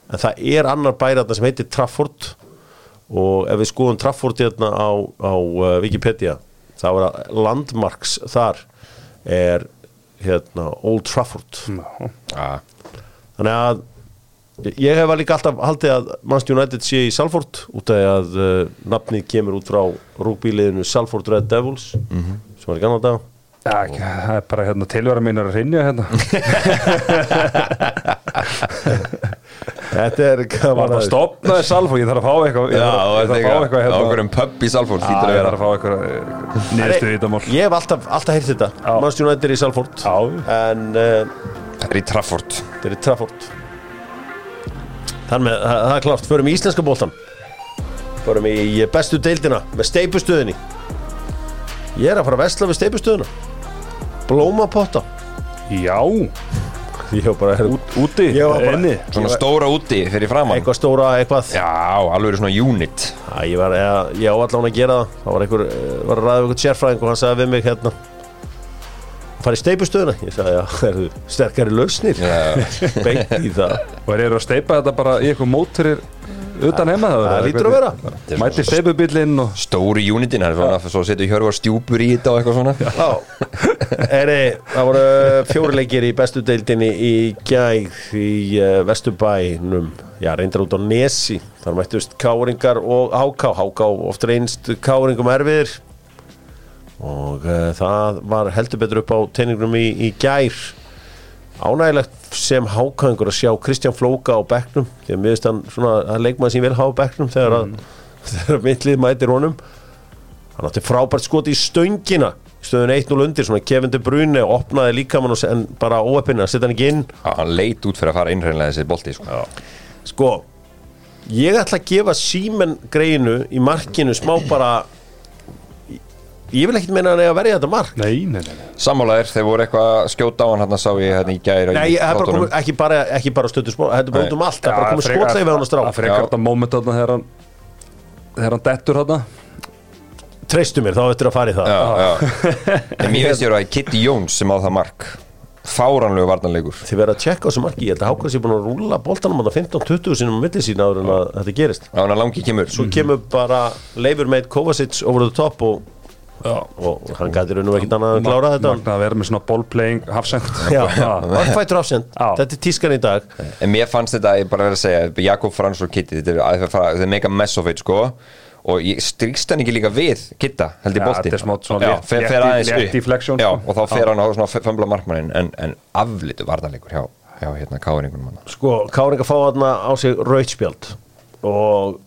[SPEAKER 1] en það er annar bæraðna sem heitir Trafford og ef við skoðum Trafford hérna á, á uh, Wikipedia þá er að landmarks þar er hérna Old Trafford
[SPEAKER 3] Já,
[SPEAKER 2] Já.
[SPEAKER 1] Þannig að ég hef líka alltaf haldið að Manchester United sé í Salford út af því að uh, nafnið kemur út frá rúgbíliðinu Salford Red Devils sem var í gamla dag
[SPEAKER 3] Já, ekki, það er bara hérna tilvera mín er að rinja
[SPEAKER 1] (laughs)
[SPEAKER 3] hérna
[SPEAKER 1] Þetta er
[SPEAKER 3] Var
[SPEAKER 1] gaman
[SPEAKER 3] það stopnaði Salford, ég þarf að fá eitthvað Ég
[SPEAKER 2] Já, og
[SPEAKER 3] þarf að- ég
[SPEAKER 2] þetta
[SPEAKER 3] þarf að fá
[SPEAKER 2] eitthvað,
[SPEAKER 3] eitthvað
[SPEAKER 2] á
[SPEAKER 3] hérna
[SPEAKER 2] okkur um pub í Salford
[SPEAKER 3] Já,
[SPEAKER 2] hlýtur að
[SPEAKER 3] ég
[SPEAKER 2] vera.
[SPEAKER 3] þarf að fá eitthvað nýðustu í þetta mál
[SPEAKER 1] Ég hef alltaf, alltaf heyrt þetta
[SPEAKER 3] Já.
[SPEAKER 1] Manchester United er í Salford
[SPEAKER 3] Já.
[SPEAKER 1] en uh,
[SPEAKER 2] Það er í Trafford.
[SPEAKER 1] þetta er í Trafford Þar með, það, það er klart, förum í íslenska bóltan förum í bestu deildina með steipustöðinni Ég er að fara að vesla við steipustöðina Blómapotta
[SPEAKER 3] Já,
[SPEAKER 1] Ég hef bara heyrt
[SPEAKER 3] út- úti,
[SPEAKER 1] Ég var bara-
[SPEAKER 3] inni
[SPEAKER 2] Svona stóra úti fyrir framann.
[SPEAKER 1] eitthvað stóra, eitthvað
[SPEAKER 2] Já, alveg svona unit.
[SPEAKER 1] Æ, ég var, ég, ég á allan að gera það það var einhver, eh, var að ræða við einhvern sérfræðing og hann sagði við mig hérna farið steipustöðuna, ég sagði já, (laughs) er þú sterkari lausnir (laughs) beint í það,
[SPEAKER 3] Og þeir eru að steipa þetta bara í eitthvað móturir utan heima það
[SPEAKER 1] það
[SPEAKER 3] eða
[SPEAKER 1] lítur að vera
[SPEAKER 3] hvernig? Mæti steipubillinn og
[SPEAKER 2] Stóri unitin, það er svona að svo setja hjörvar stjúpur í þetta og eitthvað svona.
[SPEAKER 1] Já, eri, það voru fjórileikir í bestu deildinni í gæg í uh, Vesturbænum já, reyndar út á Nesi þar mættust Káringar og Háká Háká oft reynst Káringum erfiðir og uh, það var heldur betur upp á teiningnum í, í gær ánægilegt sem hákangur að sjá Kristján Flóka á bekknum því að miðurst hann svona að leikmaður sem ég vil hafa á bekknum þegar að, (laughs) þegar að mittlið mætir honum hann átti frábært skoti í stöngina í stöðun 1-0 undir, svona Kevin De Bruyne opnaði líkamann og se- en bara óöppin að setja hann ekki inn,
[SPEAKER 2] Já, hann leit út fyrir að fara innreinlega þessi bolti, sko.
[SPEAKER 1] sko ég ætla að gefa símen greinu í markinu smá bara ég vil ekkert meina að hann eigi að verja þetta mark
[SPEAKER 3] Nei, nei, nei, nei.
[SPEAKER 2] Sammálaðir, þeir voru eitthvað að skjóta á hann hérna sá ég hérna í gæri
[SPEAKER 1] Nei, það er bara komið, ekki bara, ekki bara stöttu smá, þetta er bara
[SPEAKER 2] Nei.
[SPEAKER 1] út um allt, það er bara komið
[SPEAKER 3] frekar-
[SPEAKER 1] skotleif við hann að strá.
[SPEAKER 3] Það frekar
[SPEAKER 2] Já.
[SPEAKER 3] þetta moment þarna þegar hann þegar hann dettur þarna
[SPEAKER 1] Treystu mér, þá eftir að fara í það.
[SPEAKER 2] Já,
[SPEAKER 1] (laughs)
[SPEAKER 2] já En mér veist ég eru að Kitty Jones sem á það mark Fáranlegu varnanlegur
[SPEAKER 1] Þið verða að tjekka á þessu marki, ég held að Hákvæðs ég búin að rúla boltanum á 15-20 sinum á milli sín áður en að þetta gerist.
[SPEAKER 2] Á hann að langi kemur
[SPEAKER 3] Mhm.
[SPEAKER 1] Svo kemur bara Leifur meit Kovacic over the top og, og hann gæti raun og ekkert annað að klára þetta.
[SPEAKER 3] Magna að vera með svona ballplaying hafsend
[SPEAKER 1] Já, varfættur afsend,
[SPEAKER 3] Já.
[SPEAKER 1] þetta er tískan í dag.
[SPEAKER 2] En mér fannst þetta, ég bara verið að segja Jakob Frans og Kitty, þetta er að fara Þetta er mega mess of it, sko og ég strikst hann ekki líka við Kitta, held
[SPEAKER 3] Já,
[SPEAKER 2] ég bolti
[SPEAKER 3] þetta er smá svona létt-
[SPEAKER 2] fer,
[SPEAKER 3] létt-
[SPEAKER 2] fer aðeins
[SPEAKER 3] létt
[SPEAKER 2] upp.
[SPEAKER 3] deflection,
[SPEAKER 2] já,
[SPEAKER 3] sko.
[SPEAKER 2] og þá fer hann á svona fömbla markmannin en, en aflitu varðanleikur hjá, hjá hérna káringunum hann
[SPEAKER 1] sko, Káringa fá þarna á sig rautspjald og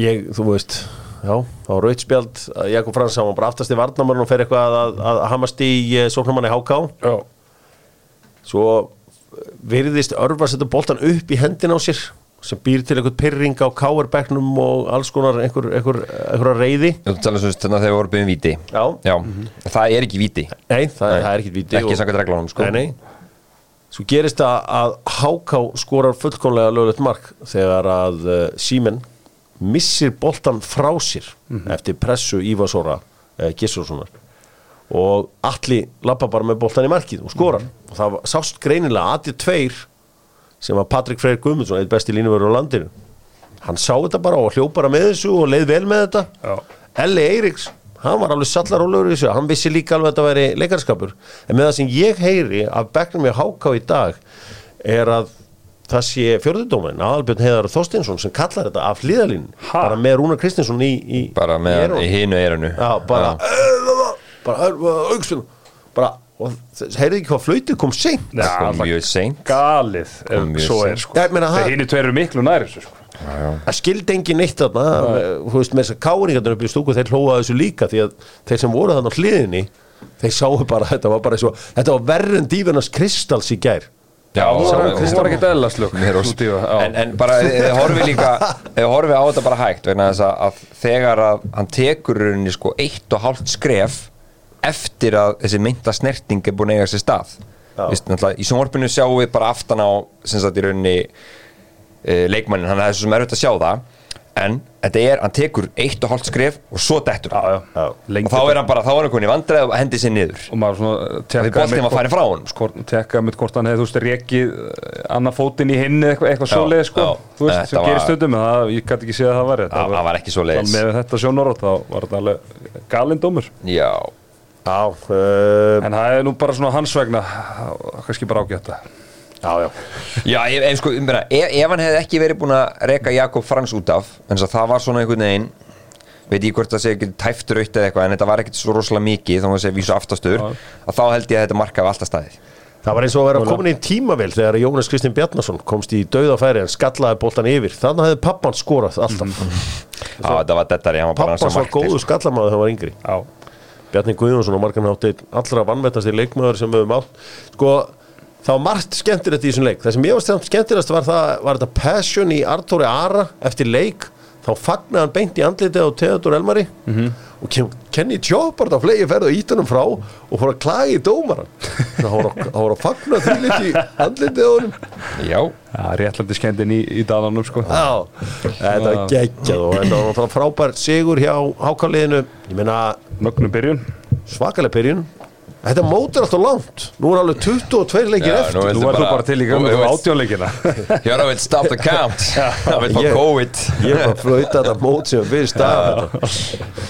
[SPEAKER 1] ég, þú veist já, á rautspjald, Jakob Frans hann var bara aftast í varnamann og fer eitthvað að, að, að hamast í eh, sóknarmanni HK
[SPEAKER 3] Já,
[SPEAKER 1] svo virðist örfa að setja boltan upp í hendin á sér sem býr til einhvern pyrring á káarbekknum og alls konar einhver, einhver, einhver reyði
[SPEAKER 2] Þú talar svo þannig að þeir voru byggðum um víti
[SPEAKER 1] Já.
[SPEAKER 2] það er ekki víti
[SPEAKER 1] Nei, það, það er ekkert víti
[SPEAKER 2] Ekki samkvæmt reglunum, sko.
[SPEAKER 1] Nei, nei Svo gerist það að HK skorar fullkomlega löglegt mark þegar að uh, Sýmen missir boltan frá sér eftir pressu Ívasóra uh, Gissurssonar og allir lappa bara með boltan í markið og skorar og það var- sást greinilega að þið tveir sem var Patrik Freyr Guðmundsson eitt besti línuvörður á landinu hann sá þetta bara og hljóð bara með þessu og leið vel með þetta
[SPEAKER 3] Já.
[SPEAKER 1] Elli Eiríks, hann var alveg sallar ólegur í þessu, hann vissi líka alveg að þetta væri leikarskapur, en með það sem ég heyri af bekknum ég háká í dag er að það sé fjörðudómin, aðalbjörn Heiðar Þorstinsson sem kallar þetta af hlýðalín
[SPEAKER 3] Ha?
[SPEAKER 1] bara með Rúnar Kristinsson í, í
[SPEAKER 2] bara
[SPEAKER 1] í
[SPEAKER 2] með
[SPEAKER 1] eyrunum.
[SPEAKER 2] í hinu eirunu
[SPEAKER 1] Já, bara bara, augstun bara, og heyrið ekki hvað flöytið kom seint
[SPEAKER 3] Já, það er
[SPEAKER 2] Sko, mjög seint
[SPEAKER 3] galið ef
[SPEAKER 2] mjög
[SPEAKER 3] svo er
[SPEAKER 2] seint.
[SPEAKER 3] sko
[SPEAKER 1] Já, ég meina, það-
[SPEAKER 3] Þeir hinu tveir eru miklu næri sko.
[SPEAKER 1] það skildi engin neitt þarna þú veist með þess að káringarnir upp í stúku þeir hlóaði þessu líka því að þeir sem voru þarna á hliðinni þeir sáu bara þetta var bara svo þetta var verri en dífinnars kristals í gær
[SPEAKER 2] Já,
[SPEAKER 3] Hún
[SPEAKER 2] sá-
[SPEAKER 3] var- hún var ekkert eðla slökk
[SPEAKER 2] Mér ósk- en, en bara þið horfi líka
[SPEAKER 1] (laughs)
[SPEAKER 2] þið horfi á þetta bara hægt vegna þess að, að þegar að hann tekur rauninni sko eitt og hálft skref eftir að þessi mynda snerting er búin að eiga sér stað
[SPEAKER 1] Já.
[SPEAKER 2] Vist, náttúrulega, í sjónvarpinu sjáum við bara aftan á sem sagt í rauninni uh, leikmannin, hann er þessu sem er auðvitað að sjá það en þetta er, hann tekur eitt og hálft skref og svo dettur hann.
[SPEAKER 1] Já.
[SPEAKER 2] og þá er hann bara, þá er hann komin í vandræð og hendi sér niður
[SPEAKER 3] og maður svona eh,
[SPEAKER 2] Því boltinn var farinn frá honum, sko.
[SPEAKER 3] honum tekka mitt hvort hann hefði þú veist rekið eh, annað fótinn í hinn eða eitthvað, eitthvað
[SPEAKER 2] Já,
[SPEAKER 3] svoleið sko
[SPEAKER 2] já.
[SPEAKER 3] þú
[SPEAKER 2] Þetta
[SPEAKER 3] veist sem
[SPEAKER 2] var-
[SPEAKER 3] gerir stundum en það, ég gæti ekki séð að það var
[SPEAKER 2] Það- það var ekki svoleiðis.
[SPEAKER 3] með þetta sjónorótt þá var þetta alveg galindómur
[SPEAKER 2] já,
[SPEAKER 1] já, uh,
[SPEAKER 3] en það er nú bara svona hans vegna kannski bara ágæta
[SPEAKER 1] já, já
[SPEAKER 2] já ef, ef, sko, ég meina, ef, ef hann hefði ekki verið búin að reka Jakob Frans út af en það var svona einhvern veginn veit ég hvort það sé ekki tæft raut eða eitthvað en þetta var ekkert svo rosalega mikið þá maður sé vísu aftastur
[SPEAKER 3] Já.
[SPEAKER 2] að þá held ég að þetta markaði alltaf staðið
[SPEAKER 1] það var eins og að vera komin í tímavel þegar Jónas Kristinn Bjarnason komst í dauðafæri en skallaði boltan yfir þannig hefði pappan skorað alltaf
[SPEAKER 2] Já, þetta var dettari, hann var bara
[SPEAKER 1] pappan Mm,
[SPEAKER 2] hans að
[SPEAKER 1] var góðu
[SPEAKER 2] markið
[SPEAKER 1] skallamaður þegar hann var yngri
[SPEAKER 3] já,
[SPEAKER 1] Bjarni Guðjónsson og margan hátti allra vannvettast í leikmaður sem við höfum átt sko, það var margt skemmtilegt í þessum leik það sem ég varst skemmtilegast var það var þetta passion í Artóri Ara eftir leik þá fagnaði hann beint í andlitið á Teodor Elmari og kem, Kenny Tjópart á flegi ferð og ítt honum frá og fór að klaga í dómaran Þannig að hann var að- hann voru að fagna því liti í andlitið á honum
[SPEAKER 2] Já,
[SPEAKER 3] réttlændi skendin í, í dalanum sko
[SPEAKER 2] Ah.
[SPEAKER 1] Já, þetta var geggjað og þetta var náttúrulega frábær sigur hjá hákáliðinu ég meina
[SPEAKER 3] mögnum byrjun
[SPEAKER 1] svakalega byrjun Þetta mótar alltaf langt Nú er alveg 22 leikir
[SPEAKER 2] Já,
[SPEAKER 1] eftir
[SPEAKER 2] nú
[SPEAKER 3] nú
[SPEAKER 2] Þetta er
[SPEAKER 3] er þú
[SPEAKER 2] bara-
[SPEAKER 3] bara til í
[SPEAKER 2] Nú
[SPEAKER 3] gamlu
[SPEAKER 2] er-
[SPEAKER 3] átjónleikina
[SPEAKER 2] (laughs) hér á við stop the (laughs) count Það vil fá
[SPEAKER 1] Ég-
[SPEAKER 2] COVID
[SPEAKER 1] Ég er bara að flauta þetta mót sem við stað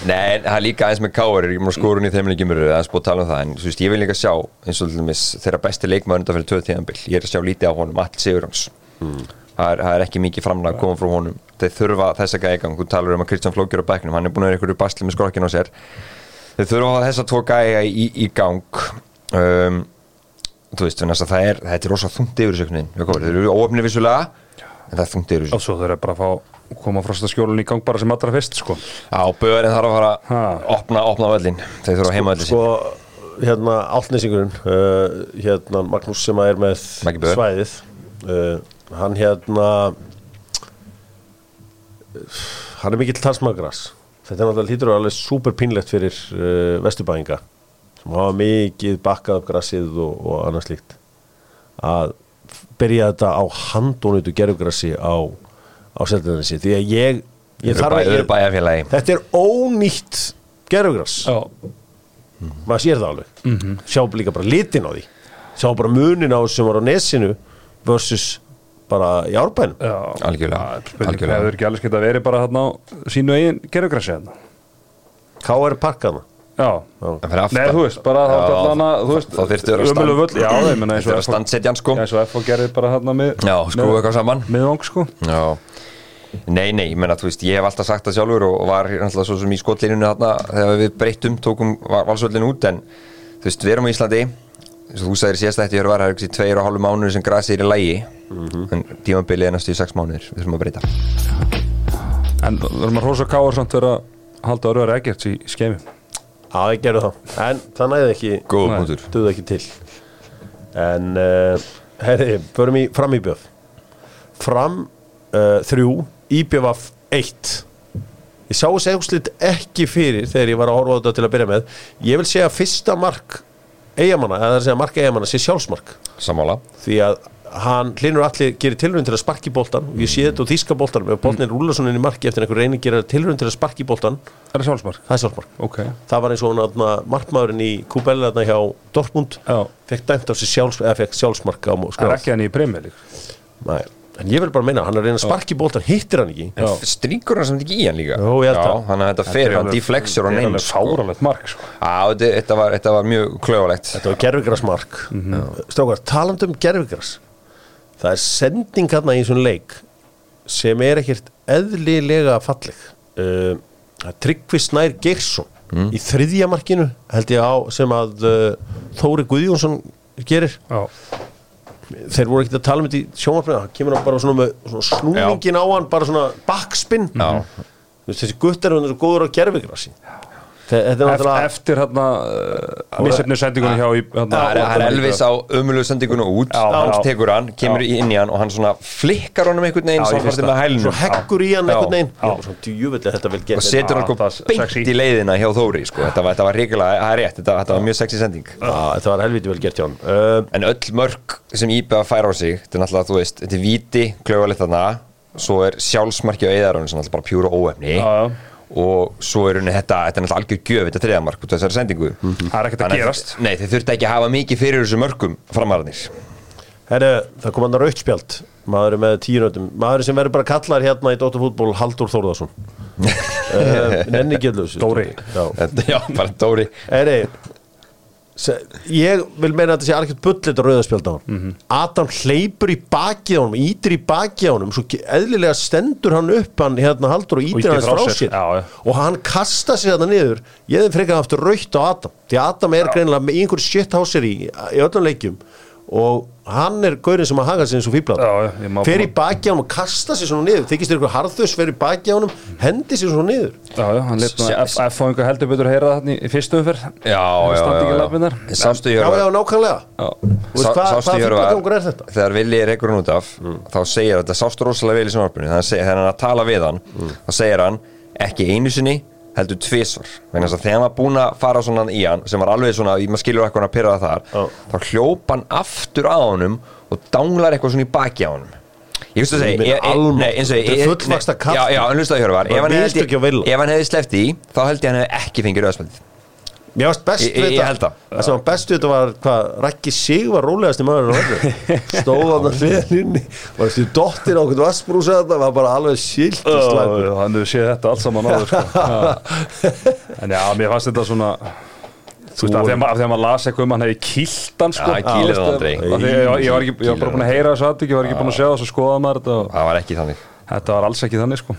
[SPEAKER 2] Nei, en það er líka eins með Káur ég mér skorun í þeim leikjumur eða aðeins búið að tala um það en þú veist, ég vil líka sjá eins og til dæmis þeirra besti leikmaður undan fyrir tvöð tíðanbill ég er að sjá lítið á honum, all sigur hans
[SPEAKER 1] Hmm.
[SPEAKER 2] það, er, það er ekki mikið framlega að koma frá honum þeir þurfa þessa gæja í gang þú talar um að Kristján Flókjur á bæknum hann er búin að vera einhverju basli með skrokkin á sér þeir þurfa að hafa þessa tvo gæja í, í gang um, þú veist, þannig að það er þetta er rosa þungt yfir þessu einhvern veginn. þeir eru óöfni vissulega en það er þungt yfir
[SPEAKER 3] og
[SPEAKER 2] þessu
[SPEAKER 3] svo þau eru bara að fá koma frostaskjólun í gang bara sem allra fyrst sko
[SPEAKER 2] á böðarinn þarf að fara að
[SPEAKER 3] Ha.
[SPEAKER 2] opna, opna völlin þeir þurfa heima völlin
[SPEAKER 1] Sko, hérna, áltnesingurinn uh, Hérna, Magnús sem að er með
[SPEAKER 2] Maggi Böð.
[SPEAKER 1] Svæðið uh, Hann hérna Hann er mikill talsmagras Þetta er náttúrulega hlýtur og alveg súper pínlegt fyrir uh, vesturbæinga sem hafa mikið bakkað upp grassið og, og annað slíkt að byrja þetta á handónutu gerfugrassi á, á seldinnesi því að ég, ég
[SPEAKER 2] Þeir eru
[SPEAKER 1] þarf
[SPEAKER 2] bæ-
[SPEAKER 1] að
[SPEAKER 2] þeir eru
[SPEAKER 1] ég,
[SPEAKER 2] bæjarfélagi
[SPEAKER 1] þetta er ónýtt gerfugrass maður sér það alveg sjá líka bara litin á því sjá bara munin á sem var á nesinu versus bara í árbænum
[SPEAKER 3] Já.
[SPEAKER 2] Algjörlega,
[SPEAKER 3] Það er spurning,
[SPEAKER 2] algjörlega.
[SPEAKER 3] Það hefur ekki alveg skilt að veri bara hérna á sínu eigin gerðugrassi hérna
[SPEAKER 1] K.R. parkaðna
[SPEAKER 3] Já
[SPEAKER 2] En fyrir aftan.
[SPEAKER 3] Nei, þú veist, bara það
[SPEAKER 2] Já,
[SPEAKER 3] var allan að þú veist
[SPEAKER 2] þá þyrfti að vera
[SPEAKER 3] ömurlegur
[SPEAKER 2] stand-
[SPEAKER 3] völl, Já, ég menna
[SPEAKER 2] Þetta
[SPEAKER 3] eins og
[SPEAKER 2] er að
[SPEAKER 3] FH
[SPEAKER 2] standsetja hann sko
[SPEAKER 3] eins og FH gerði bara hérna með
[SPEAKER 2] Já, skrúfa eitthvað saman.
[SPEAKER 3] Miðvang sko
[SPEAKER 2] Já Nei, nei, ég menna, þú veist, ég hef alltaf sagt það sjálfur og var náttúrulega svo sem í skotlínunni þarna þegar við breyttum, tókum valsvöldinu út en þú veist, við erum á Íslandi eins og þú sagðir síðast eftir Jörvar, það er ekki tveir og hálfu mánuður sem grasið er í lægi en tímabilið er næstu í sex mánuður, við þurfum að breyta
[SPEAKER 3] En verðum að rosa káar samt vera að halda örður ekkert í skemi
[SPEAKER 1] Já, ég gerði það En það næði ekki
[SPEAKER 2] Góð
[SPEAKER 3] Nei.
[SPEAKER 2] punktur
[SPEAKER 1] Duði ekki til En uh, Herri, förum í fram íbjöf Fram uh, Þrjú Íbjöfaf Eitt Ég sá þessi úrslit ekki fyrir Þegar ég var að horfa á þetta til að byrja með Ég vil segja að fyrsta mark Eyjamanna, eða það er að segja mark Eyjamanna sé sjálfsmark
[SPEAKER 2] Samála
[SPEAKER 1] því að hann hlinur allir gerir tilraun til að sparki boltan og ég sé þetta á þýska boltanum ef boltin er rúlasoninn í marki eftir einhver reyning gerir tilraun til að sparki boltan
[SPEAKER 3] Er það sjálfsmark?
[SPEAKER 1] það er sjálfsmark
[SPEAKER 3] Ok
[SPEAKER 1] það var eins og hann markmaðurinn í Kubella þarna hjá Dortmund
[SPEAKER 3] Já.
[SPEAKER 1] fekk dæmt á sig sjálfs, eða fekk sjálfsmark á mó-
[SPEAKER 3] Það er
[SPEAKER 1] skráð
[SPEAKER 3] ekki hann í premjölík
[SPEAKER 1] Nei. en ég vil bara meina hann er að reyna að sparki boltan hittir hann ekki
[SPEAKER 3] Já.
[SPEAKER 2] Stríkur hann samt ekki í hann líka
[SPEAKER 1] Jó, ég held það.
[SPEAKER 2] þannig að þetta fer, hann deflexur hann eins
[SPEAKER 3] Fáralegt mark sko.
[SPEAKER 2] Já, þetta- þetta var, þetta var mjög klöfalegt
[SPEAKER 1] þetta var gerfigrasmark
[SPEAKER 2] Mhm.
[SPEAKER 1] mm -hmm. strákar, talandum um gerfigras það er sending hann í þessum leik sem er ekkert eðlilega falleg uh, Tryggvi Snær Geirsson
[SPEAKER 2] Mm.
[SPEAKER 1] í þriðja markinu held ég á sem að uh, Þóri Guðjónsson gerir
[SPEAKER 3] Já
[SPEAKER 1] þeir voru ekkert að tala um þetta í sjónvarpinu það kemur hann bara svona með svona snúningin á hann bara svona backspin
[SPEAKER 2] Já.
[SPEAKER 1] Þú veist, þessi guttar hann er svo góður á gerfigrasi þetta er
[SPEAKER 3] Eft,
[SPEAKER 1] náttúrulega
[SPEAKER 3] Eftir hérna Missefni sendingunni hjá í hérna,
[SPEAKER 2] Það er, það er Elvis á ömulegu sendinguna út
[SPEAKER 3] Já,
[SPEAKER 2] Hans
[SPEAKER 3] já.
[SPEAKER 2] tekur hann, kemur inn í hann og hann svona flikkar honum einhvern veginn
[SPEAKER 3] Já, ég
[SPEAKER 2] samfært
[SPEAKER 3] finnst
[SPEAKER 2] með
[SPEAKER 3] það.
[SPEAKER 1] svo
[SPEAKER 2] hælunum
[SPEAKER 1] heggur í hann
[SPEAKER 2] Já.
[SPEAKER 1] einhvern veginn
[SPEAKER 3] Já.
[SPEAKER 1] Ég var svona djúvillig þetta vel
[SPEAKER 2] og
[SPEAKER 1] gert
[SPEAKER 2] setur hann
[SPEAKER 3] Já, það
[SPEAKER 2] eitthvað
[SPEAKER 3] er sexy.
[SPEAKER 2] beint í leiðina hjá Þóri sko. þetta, var, þetta var reikilega, það er rétt þetta, þetta var mjög sexy sending
[SPEAKER 1] Já, þetta var helviti vel gert hjá hann uh,
[SPEAKER 2] en öll mörg sem Íbega fær á sig þetta er náttúrulega, þú veist, þetta er viti klöfalegt þarna, svo er sjálfsmarki á eðarunum sem er náttúrulega bara pjúra óefni
[SPEAKER 3] Já, já.
[SPEAKER 2] og svo er henni þetta þetta er náttúrulega algjör gjöf, þetta þriðamark út af þessari sendingu
[SPEAKER 3] Það er ekkert að
[SPEAKER 2] Þannig
[SPEAKER 3] Mhm. gerast.
[SPEAKER 2] Nei, þið þurfti ekki að hafa mikið fyrir þessu mörgum framararnir
[SPEAKER 1] Herru, það kom hann að rautspjald maður er með tíunöndum, maður sem verður bara kallar hérna í Dóttarfútból Haldur Þórðarsson uh, Nenni gæðlaus
[SPEAKER 3] Dóri.
[SPEAKER 2] (laughs) Já, bara Dóri
[SPEAKER 1] Herru se- ég vil meina að þetta sé algjörð bullet að rauðaspjald á hann
[SPEAKER 3] Mhm.
[SPEAKER 1] Adam hleypur í bakið á hann ítir í bakið á hann svo ge- eðlilega stendur hann upp hann hérna Haldur og ítir
[SPEAKER 3] ýtir
[SPEAKER 1] hann frá sér,
[SPEAKER 3] Já, já.
[SPEAKER 1] og hann kasta sér þetta niður ég þeim frekar aftur raukt á Adam því að Adam er greinilega með einhver shit á sér í, í öllum leikjum og hann er gaurinn sem að haga sér eins og fíblat
[SPEAKER 3] Já, já, ég má-
[SPEAKER 1] fer í baki á hann og kasta sér svona niður þykist þér eitthvað harðus, fer í baki á hann
[SPEAKER 3] Mhm.
[SPEAKER 1] hendi sér svona niður
[SPEAKER 3] Já, já, hann létt nú
[SPEAKER 2] Se-
[SPEAKER 3] F- F-fóðingu heldur betur að heyra það í fyrstu umferð
[SPEAKER 2] Já, já,
[SPEAKER 3] standi ekki
[SPEAKER 2] já,
[SPEAKER 3] lappirnar.
[SPEAKER 2] já. Sástu
[SPEAKER 1] já, já,
[SPEAKER 2] Hjörvar
[SPEAKER 1] nákvæmlega Þú veist,
[SPEAKER 2] Sá-
[SPEAKER 1] hvað,
[SPEAKER 2] sástu
[SPEAKER 1] hvað fíblagangur er þetta? Mm.
[SPEAKER 2] Þegar Vili er ekkur hún út af þá segir þetta, sástu rosalega vel í sjónvarpinu þannig að segja- þegar hann er að tala við hann
[SPEAKER 1] Mm.
[SPEAKER 2] þá segir hann, ekki einu sinni heldur tvisvar, þannig að þegar hann var búin að fara svona í hann, sem var alveg svona maður skilur eitthvað að pyrra það þar
[SPEAKER 1] Já.
[SPEAKER 2] þá hljópa hann aftur að honum og danglar eitthvað svona í baki á honum Ég veist að
[SPEAKER 1] Ég
[SPEAKER 2] segja,
[SPEAKER 1] meina
[SPEAKER 2] ég- ég-
[SPEAKER 1] almátt,
[SPEAKER 2] nei, eins og ég-
[SPEAKER 1] þetta er
[SPEAKER 2] ég-
[SPEAKER 1] fullvaxta
[SPEAKER 2] nei,
[SPEAKER 1] kall.
[SPEAKER 2] Já, já, en hlustaðu Hjörvar,
[SPEAKER 1] Bara
[SPEAKER 2] ef hann hefði-
[SPEAKER 1] mistök hjá Villa.
[SPEAKER 2] ef hann hefði sleppt í, þá held ég að hann hefði ekki fengið rauðspældið
[SPEAKER 1] Mér varst best
[SPEAKER 2] Ég- ég-
[SPEAKER 1] við
[SPEAKER 2] ég held
[SPEAKER 1] þetta
[SPEAKER 2] það.
[SPEAKER 1] Það sem var best við þetta var hvað Rækki Sig var rólegast í maður
[SPEAKER 2] (laughs)
[SPEAKER 1] Stóð hann að hliðan inni Var þessi dottir á okkur vassbrúsa þetta Var bara alveg sílt
[SPEAKER 3] Já, já, Hann hefur séð þetta allt saman áður sko. Já. En já, mér fannst þetta svona Þú veist, af því að ma- af því að maður las eitthvað um að hann hefði kýlt hann
[SPEAKER 2] Já,
[SPEAKER 3] sko
[SPEAKER 2] hann kýlir
[SPEAKER 3] Þú veist,
[SPEAKER 2] hann aldrei.
[SPEAKER 3] af því að Ég ég var ekki, ég var bara búin að heyra þessu aðtík Ég var ekki búin að sjá þessu skoða maður þetta og-
[SPEAKER 2] Það var ekki þannig
[SPEAKER 3] Þetta var alls ekki þannig sko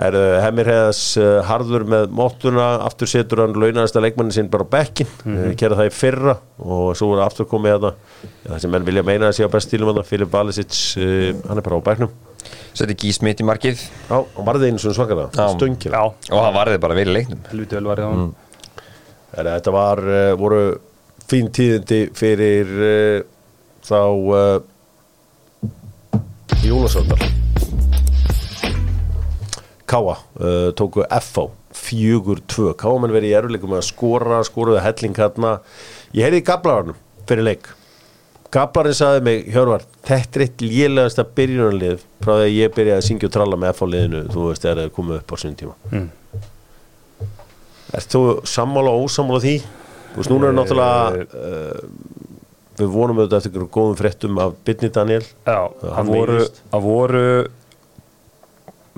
[SPEAKER 1] Erðu Hemir Heiðas uh, harður með móttuna Aftur setur hann launarasta leikmannin sinn bara á bekkin mm
[SPEAKER 2] Mhm.
[SPEAKER 1] Kera það í fyrra Og svo voru aftur komið þetta Það sem menn vilja meina að sé á best stílum þarna, Filip Valisic, uh, hann er bara á bekknum
[SPEAKER 2] Seti Gísmit í markið
[SPEAKER 1] Já, hann varði einu svona svakalega
[SPEAKER 2] Já.
[SPEAKER 1] Stöngir
[SPEAKER 3] Já,
[SPEAKER 2] og hann varði bara vel í leiknum
[SPEAKER 3] helviti vel var ég á hann
[SPEAKER 1] Þannig að þetta var, uh, voru fín tíðindi fyrir uh, þá uh, Jólasöndar Káa uh, tóku FH 4-2, Káa menn verið í eruleikum að skora, skoruðu helling hérna ég heyrði í gablarunum fyrir leik Gablarinn sagði mig, Hjörvar þetta er eitt lélegasta byrjunarlið frá því að ég byrjaði að syngja og tralla með FH liðinu þú veist, þegar það komið upp á sinni tíma
[SPEAKER 2] Mm.
[SPEAKER 3] Mm.
[SPEAKER 1] Ert þú sammála og ósammála því? Þú veist, núna er náttúrulega uh, Eh, við vonum auðvitað eftir einhverjum góðum fréttum af Byrni Daniel
[SPEAKER 3] Já,
[SPEAKER 1] Hann
[SPEAKER 3] það voru,
[SPEAKER 1] meiðist.
[SPEAKER 3] það voru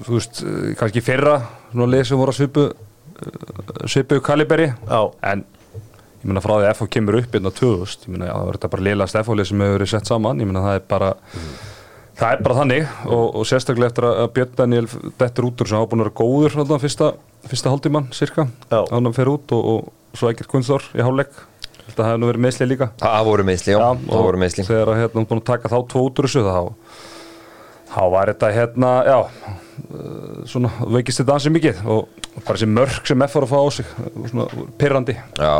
[SPEAKER 3] þú veist, eh, kannski í fyrra svona lið sem voru að svipu eh, svipu kaliberi
[SPEAKER 1] Já.
[SPEAKER 3] en ég meina frá því að FH hérna kemur upp inn á 2000, ég meina það verður þetta bara liðlast FH lið sem hefur verið sett saman, ég meina það er bara Það er bara þannig og, og sérstaklega eftir að að Björn Daniel dettur út úr sem hafa búin að vera góður svona, fyrsta, fyrsta hálftíman cirka
[SPEAKER 1] Já.
[SPEAKER 3] þannig að hann fer út og, og svo ekkert kunnþór í hálfleik þetta hefði nú verið meðsli líka
[SPEAKER 2] Það voru meðsli, já, það
[SPEAKER 3] og
[SPEAKER 2] voru meðsli
[SPEAKER 3] þegar að, hérna, hann búin að taka þá tvo út úr þessu þá, þá var þetta hérna, já uh, svona veikist þetta ansið mikið og bara þessi mörg sem F var að fá á sig uh, svona pyrrandi
[SPEAKER 2] Já,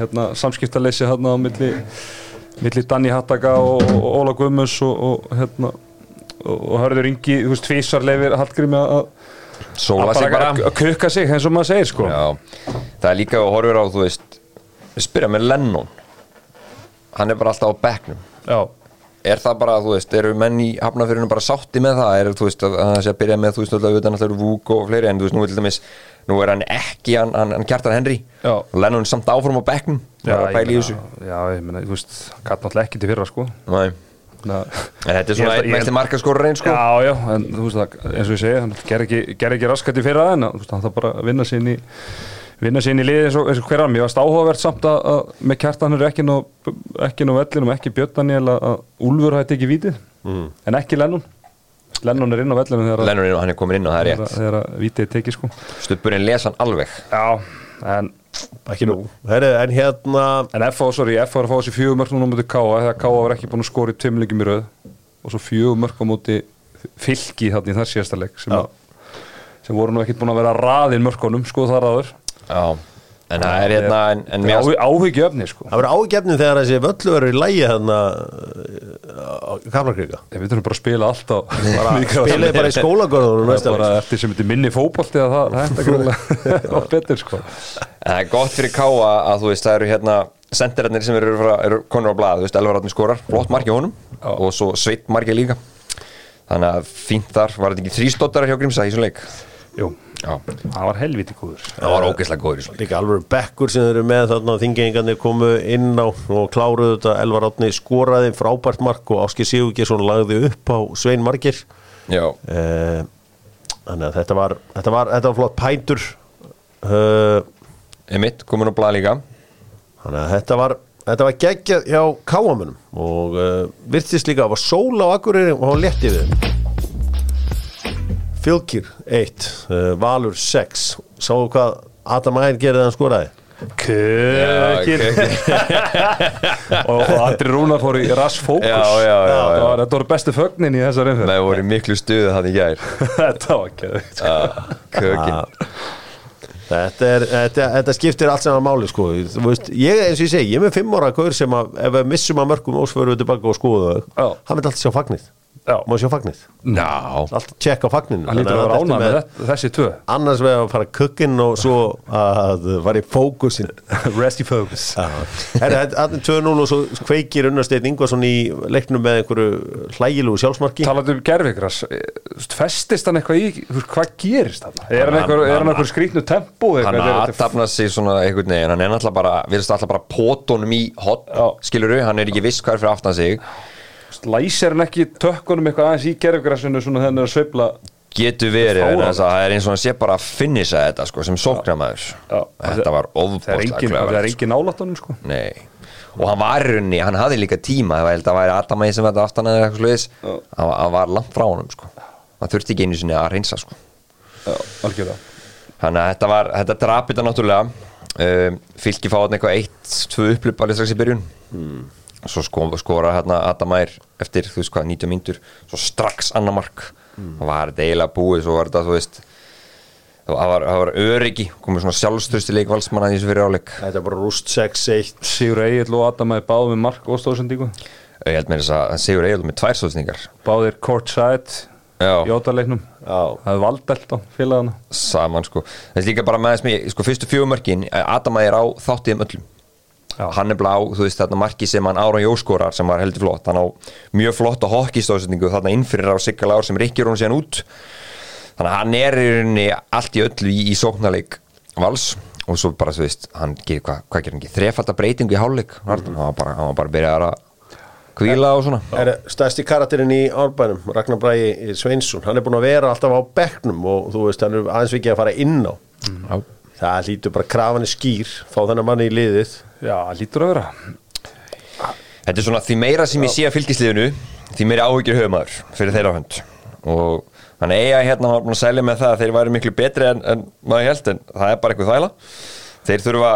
[SPEAKER 3] hérna, samskiptaleysi hérna á milli, milli Danni Hattaka og, og Óla Guðmunds og, og hérna og, og Hörður Ingi, þú veist, tvísar leifir Hallgrími að
[SPEAKER 2] sóla
[SPEAKER 3] að
[SPEAKER 2] sig bara
[SPEAKER 3] að kukka sig, eins og maður segir sko
[SPEAKER 2] Já, það er líka að horfir á, þú veist spyrja með Lennon hann er bara alltaf á bekknum
[SPEAKER 3] Já.
[SPEAKER 2] er það bara, þú veist, eru menn í hafnafyrinu bara sátti með það, er þú veist að að það sé að byrja með, þú veist, alltaf utan alltaf eru Vúk og fleiri en þú veist, nú er til dæmis, nú er hann ekki hann, hann, hann kjartar Henry,
[SPEAKER 3] Já.
[SPEAKER 2] Lennon er samt áfram á bekknum, það er að
[SPEAKER 3] ég
[SPEAKER 2] pæla í
[SPEAKER 3] meina-
[SPEAKER 2] þessu
[SPEAKER 3] já, ég meina, þú veist, gæt náttúrulega ekki til fyrra sko
[SPEAKER 2] Nei.
[SPEAKER 3] Na,
[SPEAKER 2] en þetta er
[SPEAKER 3] Ég
[SPEAKER 2] svona
[SPEAKER 3] held að-
[SPEAKER 2] einn
[SPEAKER 3] ég
[SPEAKER 2] mest
[SPEAKER 3] held-
[SPEAKER 2] markaskorur einn sko
[SPEAKER 3] Já, já, en þú veist það, eins og ég segi, hann ger ekki, ger ekki raskat í fyrra en þú veist, hann þarf bara að vinna sér inn í vinna sér inn í liði eins og, eins og hverjum ég varst áhugavert samt að, að með kjartanur ekki ná, ekki ná vellinum, ekki Björn Daniel að, að Úlfur hætti ekki vítið en ekki Lennon Lennon er inn á vellinum þegar,
[SPEAKER 2] Mm. Lennon er, hann er komin inn og það er
[SPEAKER 3] þegar,
[SPEAKER 2] rétt
[SPEAKER 3] þegar að vítið er tekið sko
[SPEAKER 2] stupurinn les hann alveg
[SPEAKER 3] Já, en
[SPEAKER 1] ekki nú Herri, en hérna
[SPEAKER 3] En FH, sorry, FH er að fá þessi fjögur mörg núna á móti K.A. þegar K.A. var ekki búin að skora í tveim leikum í röð og svo fjögur mörg á móti fylki þarna í þar síðasta leik sem, að, sem voru nú ekkert búin að vera raðin mörgunum, sko þar aður
[SPEAKER 2] já, en það er hérna en, en mér
[SPEAKER 3] áhug, áhyggjöfni, sko
[SPEAKER 1] það verður ágefnum þegar þessi völlu verður í lægi hérna eh, á Kaflarkrika
[SPEAKER 3] Ég veit hann bara að spila allt (laughs) á
[SPEAKER 1] spilaði bara í skólagörðunum
[SPEAKER 3] Það er
[SPEAKER 1] næsta
[SPEAKER 3] bara
[SPEAKER 1] leik.
[SPEAKER 3] eftir sem þetta er minni fótbolti að það það er greinlega (laughs) og betur, sko
[SPEAKER 2] En það er gott fyrir Káa að þú veist það eru hérna sendirarnir sem eru, frá- eru konur á blað, þú veist Elvaratni skorar, flott marki honum og svo sveitt marki líka þannig að fínt þar, var þetta ekki þrýstóttar hjá Grímsa í svona leik
[SPEAKER 3] Jú,
[SPEAKER 2] Já,
[SPEAKER 3] það var helviti góður
[SPEAKER 2] það var ógeðslega góður í svona leik.
[SPEAKER 1] líka alveg bekkur sem þeir eru með þarna þingengarnir komu inn á og kláruðu þetta Elvar Átni skoraði frábært mark og Áski Sigurgesson lagði upp á Svein Markir
[SPEAKER 2] Já,
[SPEAKER 1] Eh, þannig að þetta var þetta var, þetta var flott pæntur uh,
[SPEAKER 2] Emmitt komin á blað líka
[SPEAKER 1] þannig að þetta var þetta var geggjað hjá káamunum og uh, virtist líka að var sól á Akureyri og hann létti við þeim. Fylgir 1 uh, Valur 6 sáu hvað Adam Ægir gerði þegar hann skoraði
[SPEAKER 3] Eh, Kökir og, og Andri Rúnar fór í rass fókus
[SPEAKER 2] (laughs) Já, já, já,
[SPEAKER 3] Það
[SPEAKER 2] já.
[SPEAKER 3] var- Þetta voru bestu fögnin í þessar umfjörð
[SPEAKER 2] Það voru í miklu stuðu það í gær
[SPEAKER 3] (laughs) Þetta var geðvikt
[SPEAKER 2] Kökin
[SPEAKER 1] Þetta, er, þetta, þetta skiptir allt saman máli sko. Þú veist, ég, eins og ég segi, ég er með fimm ára gaur sem að, ef við missum að mörgum og svo erum við tilbaka og skoða
[SPEAKER 3] Já.
[SPEAKER 1] það hann vil alltaf sjá fagnið
[SPEAKER 3] Já.
[SPEAKER 1] má sjá fagnið,
[SPEAKER 2] Ná,
[SPEAKER 1] alltaf tjekka á fagninu
[SPEAKER 3] Hann lítur
[SPEAKER 1] Þannig þetta ertu
[SPEAKER 3] að vera ánað með þetta- þessi tvö
[SPEAKER 1] annars vegar að fara kukkinn og svo að fara í fókusin
[SPEAKER 3] (laughs) Rest í fókus
[SPEAKER 1] Herra, þetta er 2-0 og svo kveikir unnarsteinn Ingvarsson í leiknum með einhverju hlægilúgu sjálfsmarki
[SPEAKER 3] Talandi um gerfigras Festist hann eitthvað í, þú veist, hvað gerist hann? Er hann eitthvað, er hann eitthvað skrýtnu tempó?
[SPEAKER 2] hann aðtapna sig svona einhvern veginn hann er náttúrulega bara, virðist alltaf bara pótonum í hot,
[SPEAKER 3] Já.
[SPEAKER 2] skiluru, hann er ekki viss hvað er fyrir aftan sig
[SPEAKER 3] Læsir hann ekki tökkunum eitthvað aðeins í gerfigrasinu svona þegar hann er að sveifla
[SPEAKER 2] getur verið
[SPEAKER 3] Fáránlegt.
[SPEAKER 2] en þess að það er eins og hann sé bara að finnisa þetta sko, sem sóknamaður
[SPEAKER 3] Já.
[SPEAKER 2] þetta var
[SPEAKER 3] Það er
[SPEAKER 2] ofbóðslega
[SPEAKER 3] engin, það er
[SPEAKER 2] klöfverð
[SPEAKER 3] engin álattunum sko
[SPEAKER 2] og hann var í rauninni, hann hafði líka tíma það var, það var Adamæði sem þetta aftan eða eitthvað sluðis hann, var- hann var langt frá honum sko. hann þurfti ekki einu sinni að reynsa sko.
[SPEAKER 3] Já, algjörða
[SPEAKER 2] þannig að þetta var, þetta drapið það náttúrulega um, fylgji fá hann eitthvað eitt, tvö upplup alveg strax í byrjun svo sko, skorar hérna Adamæðir eftir, þú veist hvað, 90 mínútur svo strax annar mark mm. var þetta eiginlega búið, svo var þetta, þú veist það var, það var öryggi komið svona sjálfströsti leik valsmanna í þessu fyrir áleik
[SPEAKER 1] Þetta er bara rúst 6-1
[SPEAKER 3] Sigur Egil og Adamæði báðu með mark og stóðsendingu
[SPEAKER 2] ég held með þess að Sigur Egil með tvær sótsningar
[SPEAKER 3] Báðir courtside
[SPEAKER 2] Já.
[SPEAKER 3] í ótaleiknum
[SPEAKER 1] Já.
[SPEAKER 3] Það er valdelt á félagana
[SPEAKER 2] saman sko, þess líka bara með þess mér sko fyrstu fjögumörkin, Adamæðir á þáttiðum öllum
[SPEAKER 3] Já.
[SPEAKER 2] hann er blá, þú veist þarna marki sem hann Ára Jóskorar sem var heldur flott hann á mjög flott og hokkistóðsendingu þarna innfyrir á Sigga Lár sem rikkir hún síðan út þannig að hann er í rauninni allt í öllu í, í sóknarleik vals og svo bara þú veist hann gerir hvað, hvað gerir hann ekki, þrefaldar breytingu í hálfleik hann var bara, hann var bara að byrja að kvíla og svona
[SPEAKER 1] er stærsti karakterinn í árbænum Ragnar Bræi Sveinsson, hann er búin að vera alltaf á bekknum og þú veist, hann er aðeins vikið að fara inn á
[SPEAKER 2] Já.
[SPEAKER 1] það lítur bara krafanir skýr fá þennan manni í liðið
[SPEAKER 3] Já, lítur að vera
[SPEAKER 2] þetta er svona því meira sem ég sé að fylgisliðinu því meiri áhyggjur höfumæður fyrir þeirra hönd og hann eiga hérna var búin að selja með það að þeir væri miklu betri en, en maður held en það er bara eitthvað þvæla þeir þurfa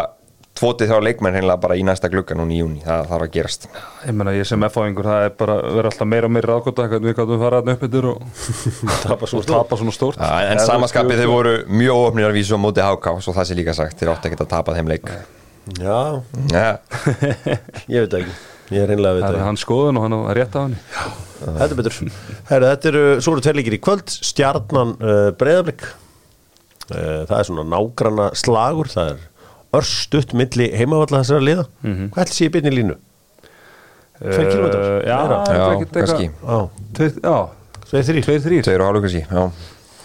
[SPEAKER 2] tvotið þrjá leikmenn hreinlega bara í næsta glugga núna í júni, það þarf að gerast
[SPEAKER 3] Ég menna, ég sem F-áingur, það er bara verið alltaf meira og meira aðgóta hvernig við gáttum fara þarna upp yfir og tapa svona stórt, tapa svona stórt.
[SPEAKER 2] en, en samaskapið þeir voru mjög óöfnir að vísu á móti háká, svo það sé líka sagt þeir áttu ekkert að tapa þeim leik
[SPEAKER 1] Já,
[SPEAKER 2] ja,
[SPEAKER 1] ég veit það ekki Ég er einlega að veit
[SPEAKER 3] Það
[SPEAKER 1] það
[SPEAKER 3] er hans skoðun og hann á rétt af henni
[SPEAKER 1] ekki Þetta er betur Herra, þetta eru, svo eru tveirleikir í kvöld Stjarnan uh, breyðablik uh, Það er svona nágranna slagur Það er örstutt milli heimavalla þessara liða Hvað ætli sé í byrni línu? Tveir kílómetrar?
[SPEAKER 3] Eh, Já,
[SPEAKER 1] Meira?
[SPEAKER 3] þetta
[SPEAKER 2] já,
[SPEAKER 3] er ekkert
[SPEAKER 2] kannski
[SPEAKER 3] eitthvað-
[SPEAKER 1] Á,
[SPEAKER 3] Tveir- Já,
[SPEAKER 1] tveir þrýr
[SPEAKER 3] tveir, þrýr
[SPEAKER 2] tveir og hálfur kannski, já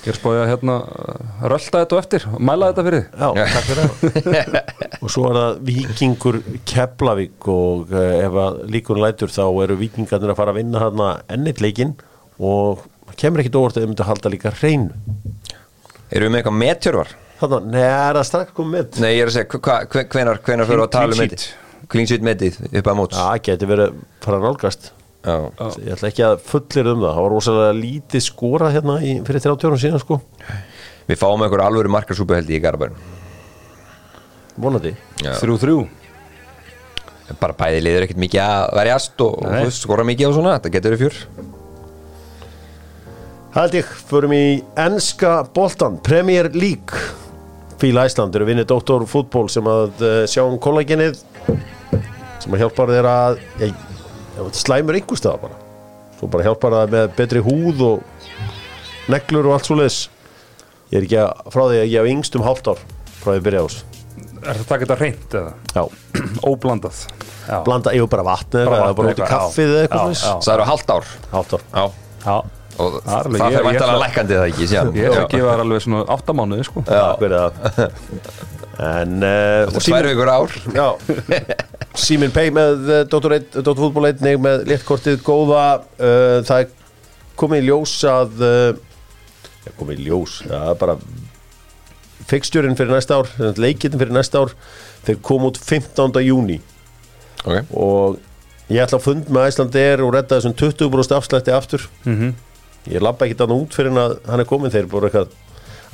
[SPEAKER 3] Ég er spáðið að hérna uh, rölda þetta á eftir og mæla þetta fyrir þig.
[SPEAKER 1] Já, takk fyrir það Og svo er það vikingur Keflavík og uh, ef að líkur lætur þá eru vikingarnir að fara að vinna þarna ennitleikin og kemur ekkit óvart að þau myndu að halda líka hrein
[SPEAKER 2] Erum við með eitthvað metjörvar?
[SPEAKER 1] Þarna, neða, er það strax komið með
[SPEAKER 2] Nei, ég er að segja, hva, hva, hvenar, hvenar fyrir að
[SPEAKER 3] Clean-
[SPEAKER 2] tala um
[SPEAKER 3] clean
[SPEAKER 2] metið? Clean sheet metið upp að móts
[SPEAKER 1] Já, geti verið að fara að nálgast
[SPEAKER 2] Já.
[SPEAKER 1] Ég ætla ekki að fullir um það Það var rosalega lítið skora hérna í, fyrir 30 árum síðan sko
[SPEAKER 2] Við fáum einhver alvöru markarsúpu held ég í Garabæn
[SPEAKER 1] Vonandi
[SPEAKER 2] Já.
[SPEAKER 3] Þrjú, þrjú
[SPEAKER 2] Bara bæði liður ekkert mikið að verjast og, og
[SPEAKER 3] Nei.
[SPEAKER 2] þú veist, skora mikið og svona, þetta getur við fjör
[SPEAKER 1] Það held ég, förum í enska boltan, Premier League Fíla Æsland eru vinnið Dóttor fútból sem að uh, sjá um kollagenið sem að hjálpar þeirra að ég, ég, slæmur einhver staða bara svo bara hjálpar það með betri húð og neglur og allt svo leis ég er ekki að frá því að ég hef yngst um hálft ár frá því að byrja ás
[SPEAKER 3] Er þetta ekki þetta reynd eða?
[SPEAKER 1] já,
[SPEAKER 3] (clears throat) Óblandað Já,
[SPEAKER 1] blanda yfir bara vatni eða
[SPEAKER 3] Bara
[SPEAKER 1] bara,
[SPEAKER 3] vatn
[SPEAKER 1] bara út
[SPEAKER 3] og
[SPEAKER 1] í
[SPEAKER 3] eitthvað,
[SPEAKER 1] kaffið eða eitthvað
[SPEAKER 3] já,
[SPEAKER 1] leis
[SPEAKER 3] já.
[SPEAKER 2] Það eru hálft ár
[SPEAKER 1] hálft ár,
[SPEAKER 2] Já.
[SPEAKER 3] já
[SPEAKER 2] og
[SPEAKER 3] Það er
[SPEAKER 2] það
[SPEAKER 3] alveg- ég-
[SPEAKER 2] fyrir
[SPEAKER 3] ég
[SPEAKER 2] væntalega
[SPEAKER 3] ætla-
[SPEAKER 2] lækandi er það ekki síðan
[SPEAKER 3] Ég ætla
[SPEAKER 2] Já.
[SPEAKER 3] að gefa þær alveg svona áttamánuði sko
[SPEAKER 1] já, hver er það en uh,
[SPEAKER 2] Þetta er tvær vikur ár
[SPEAKER 1] Já Simin Pay með eh, Dóttúrfútból 1 Nei, með léttkortið góða uh, Það er komið í ljós að uh, já, komið í ljós það er bara fixtjörinn fyrir næsta ár, leikinn fyrir næsta ár þeir kom út 15. júni
[SPEAKER 2] okay.
[SPEAKER 1] og ég ætla að fund með Æslandeir og redda þessum 20% afslætti aftur ég labba ekki þannig út fyrir en að hann er komin þeir bara eitthvað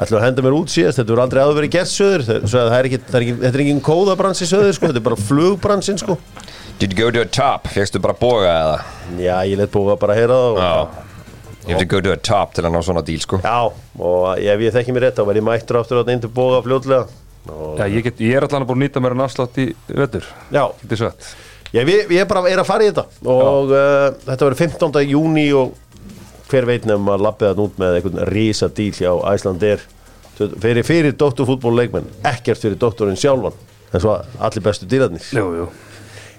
[SPEAKER 1] ætla að henda mér út síðast, þetta voru aldrei áður verið gert söður þeir, svo að það er ekki, það er ekki, þetta er engin kóðabransi söður sko, þetta er bara flugbransin sko
[SPEAKER 2] Did you go to a top? Fegstu bara boga eða?
[SPEAKER 1] já, ég let búið bara að heyra það og,
[SPEAKER 2] You have to go to a top til að ná svona díl sko
[SPEAKER 1] já, og ef ég þekki mér rétt þá verði mættur aftur að inn til bóða fljótlega og,
[SPEAKER 3] Já, ég, get, ég er allan að búin að nýta mér en afslátt í vetur
[SPEAKER 1] já,
[SPEAKER 3] Getið sett
[SPEAKER 1] ég, ég, ég bara er að fara í þetta og uh, þetta verður 15. júni og hver veit nefnum að lappið það út með einhvern rísa díl hjá Æslandir fyrir, fyrir doktorfútból leikmenn ekkert fyrir doktorinn sjálfan en svo allir bestu dýrarnir
[SPEAKER 3] Jú, jú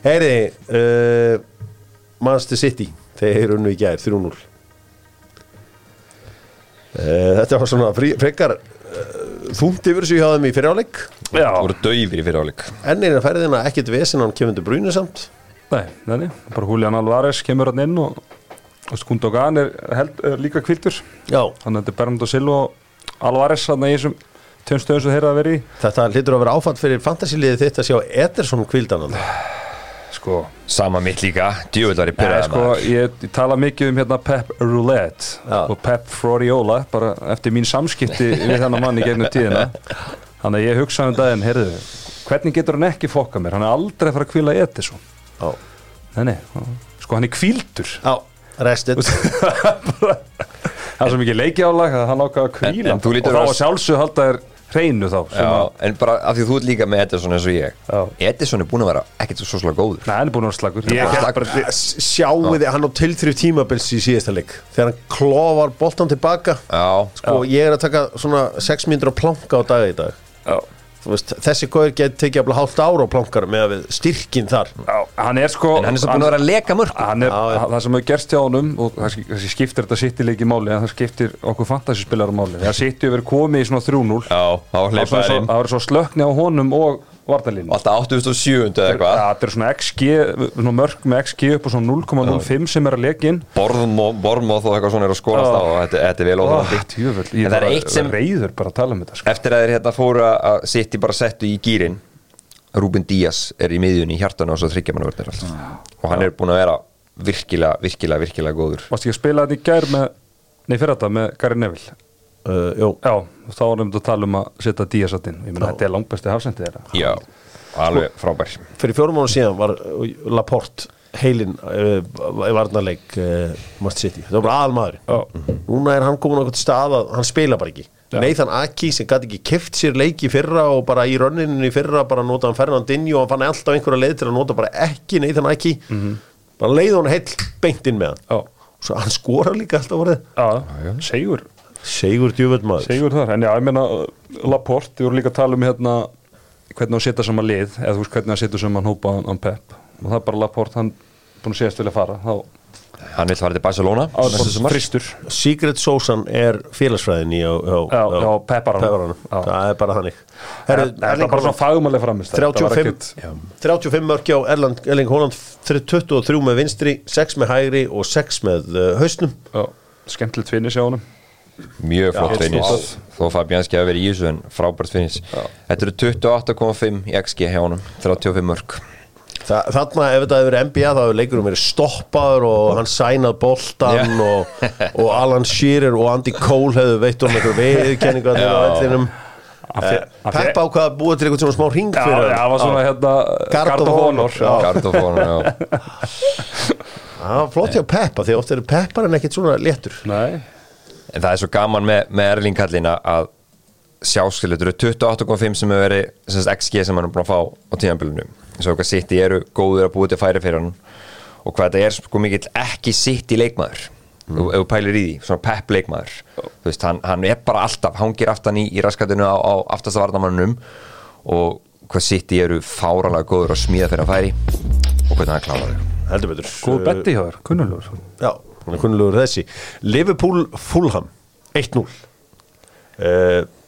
[SPEAKER 1] Heyri, uh, Manchester City þeir unnu í gær 3-0 uh, Eh, Þetta var svona frí- frekar uh, þungt yfir þessu hjá þeim í fyriráleik
[SPEAKER 3] Já
[SPEAKER 2] Það voru döfir í fyrirháleik
[SPEAKER 1] enn eina ferðina ekkert vesinn án kefundu brúinu samt
[SPEAKER 3] Nei, nei, nei, bara Julian Alvarez kemur hann inn og og Skundogan er, held, er líka kviltur
[SPEAKER 1] Já,
[SPEAKER 3] Þannig að þetta er Bernardo Silva og Alvarez hann í þessum tveim stöðum sem þeirra að vera í
[SPEAKER 1] þetta hlýtur að vera áfatt fyrir fantasiliðið þitt að sjá Ederson kvildanan
[SPEAKER 3] Sko
[SPEAKER 2] Sama mitt líka, djúvillari
[SPEAKER 3] Nei,
[SPEAKER 2] pyrraða
[SPEAKER 3] sko, ég, ég tala mikið um hérna Pep Roulette
[SPEAKER 1] Já.
[SPEAKER 3] og Pep Floriola bara eftir mín
[SPEAKER 2] (laughs)
[SPEAKER 3] samskipti við þennan mann í gegnum tíðina þannig að ég hugsaði um daginn, heyrðu hvernig getur hann ekki fokka mér, hann er aldrei að fara að kvíla Edison
[SPEAKER 1] Já,
[SPEAKER 3] nei, nei, sko hann er kvíldur
[SPEAKER 1] Já restið
[SPEAKER 3] bara, það er svo mikið leikiálag að hann ákvað að
[SPEAKER 2] En-
[SPEAKER 3] kvíla
[SPEAKER 2] en þú
[SPEAKER 3] og
[SPEAKER 2] lítur
[SPEAKER 3] þá
[SPEAKER 2] að-
[SPEAKER 3] að sjálfsög halda þér hreinu þá sem
[SPEAKER 2] Já,
[SPEAKER 3] að,
[SPEAKER 2] en bara af því að þú ert líka með Edison eins og ég
[SPEAKER 3] Já.
[SPEAKER 2] Edison er búin að vera ekkert svo svolítið góður
[SPEAKER 3] Nei, hann er búin að vera slagur
[SPEAKER 2] Ég held bara-
[SPEAKER 1] Sjáuði hann á tilþrif tímabils í síðasta leik þegar hann klofar boltan tilbaka
[SPEAKER 2] Já,
[SPEAKER 1] sko, ég er að taka svona 6 mínútur að planka á dag í dag
[SPEAKER 3] Já.
[SPEAKER 1] Þú veist, þessi góður getur tekið jafnvel hálft ára á plankar með við styrkin þar
[SPEAKER 3] Já, hann er sko
[SPEAKER 2] en hann er svo búin að vera að leka mörg
[SPEAKER 3] hann er,
[SPEAKER 1] Já, já.
[SPEAKER 3] það sem hefur gerst hjá honum og það sk- það skiptir þetta sittileiki máli en það skiptir okkur fantasyspilarum máli það sitti verið komið í svona 3-0
[SPEAKER 2] Já, þá
[SPEAKER 3] það var svona
[SPEAKER 2] hleypaði
[SPEAKER 3] svo-
[SPEAKER 2] þeim
[SPEAKER 3] það var svo slökni á honum og vartalínu
[SPEAKER 2] Alltaf 87 eða
[SPEAKER 3] það
[SPEAKER 2] eitthvað
[SPEAKER 3] þetta er svona XG, svona mörg með XG upp á svona 0,05 sem er að leka inn
[SPEAKER 2] Bormóð Bormóð og eitthvað svona er að skorast
[SPEAKER 3] Já.
[SPEAKER 2] á og þetta, þetta er vel óþólandi
[SPEAKER 3] tjöfull,
[SPEAKER 2] En
[SPEAKER 3] Ah, ég
[SPEAKER 2] það er
[SPEAKER 3] bara
[SPEAKER 2] eitt sem-
[SPEAKER 3] reyður bara að tala um þetta sko.
[SPEAKER 2] Eftir að þeir hérna fóru að sitt í bara settu í gýrin Rúben Díaz er í miðjunni í hjartanu og svo þryggja mann vörnir allt Og hann er búin að vera virkilega, virkilega, virkilega góður
[SPEAKER 3] Varst ekki að spila þetta í gær með Nei, fyrir þetta með Gary Neville
[SPEAKER 1] uh, Jó,
[SPEAKER 3] Já, og þá erum við að tala um að setja díasatinn Ég meina, þetta er langbæsti hafsendi þeirra
[SPEAKER 2] Já, alveg frábær
[SPEAKER 1] fyrir fjórum mánu síðan var uh, Laporte heilinn uh, í varnarleik uh, Mart City, þetta var bara aðalmaður
[SPEAKER 3] Já.
[SPEAKER 1] núna er hann komin okkur til stað að hann spila bara ekki Nathan Aki sem gæti ekki keft sér leiki fyrra og bara í rönninni fyrra bara nota hann Fernandinho og hann fann alltaf einhverja leið til að nota bara ekki Nathan Aki bara leið hann heill beint inn með hann
[SPEAKER 3] Mhm. Já,
[SPEAKER 1] og svo hann skorar líka alltaf voruð
[SPEAKER 3] já, segur
[SPEAKER 1] Sigur djúvöld maður
[SPEAKER 3] Segur þar, en já, ég meina Laporte, við vorum líka að tala um hérna hvernig að setja saman lið, eða þú veist hvernig að setja saman hópa hann Pep og það er bara Laporte, hann búin að segja stil að fara þá
[SPEAKER 2] Hann vil fara til Barcelona næsta
[SPEAKER 3] áður
[SPEAKER 2] sumar.
[SPEAKER 3] bara fristur
[SPEAKER 1] Sigrid Sósan er félagsfræðin í á, á,
[SPEAKER 3] Já, já, pepparanum. Já.
[SPEAKER 1] það er bara þannig Herru,
[SPEAKER 3] Það
[SPEAKER 1] Erling
[SPEAKER 3] er bara svona
[SPEAKER 1] Haaland-
[SPEAKER 3] fagumalega framist
[SPEAKER 1] 35, 35 mörgja á Erland, Erling Holland 23 með vinstri, 6 með hægri og 6 með uh, hausnum
[SPEAKER 3] Skemmtilegt finnis hjá honum
[SPEAKER 2] Mjög
[SPEAKER 1] Já,
[SPEAKER 2] flott finnis
[SPEAKER 1] flott.
[SPEAKER 2] Þó Fabianski hafi verið í þessu en frábært finnis Þetta eru 28,5 í XG hjá honum 35 mörg
[SPEAKER 1] Þa, Þarna ef þetta hefur verið NBA þá hefur leikurum verið stoppaður og hann sænað boltan
[SPEAKER 2] Já.
[SPEAKER 1] og, og Alan Shearer og Andy Cole hefur veitt um einhver viðkenningu að þeirra á ellinum
[SPEAKER 3] fe- hann fe-
[SPEAKER 1] Peppa ákvað að búa til eitthvað svona smá ring
[SPEAKER 3] Já,
[SPEAKER 1] fyrir
[SPEAKER 3] já, það var
[SPEAKER 1] hann.
[SPEAKER 3] svona hérna
[SPEAKER 1] Guard of
[SPEAKER 3] Gard of
[SPEAKER 1] Honor,
[SPEAKER 3] Honor já.
[SPEAKER 2] Gardofón já.
[SPEAKER 1] Það var flott hjá Peppa því oft eru Pepparinn ekkit svona léttur
[SPEAKER 3] Nei,
[SPEAKER 2] En það er svo gaman með, með Erling Kallin að- að sjáskilu, þetta eru 28,5 sem hefur verið sem sagt, XG sem hann er búin að fá á tíðanbylunum Svo hvað City eru góður að búa til færi fyrir hann og hvað þetta er sko mikill ekki City leikmaður mm. ef þú pælir í því, svona pepp leikmaður þú veist, hann, hann er bara alltaf, hangir aftan í, í raskatinu á, á aftasta varnamannunum og hvað City eru fáralega góður að smíða fyrir að færi og hvernig hann klárar þau
[SPEAKER 1] Heldur betur
[SPEAKER 3] góð betti hjá þér, kunnulegur
[SPEAKER 1] Já, hann er kunnulegur þessi Liverpool Fulham 1-0 uh,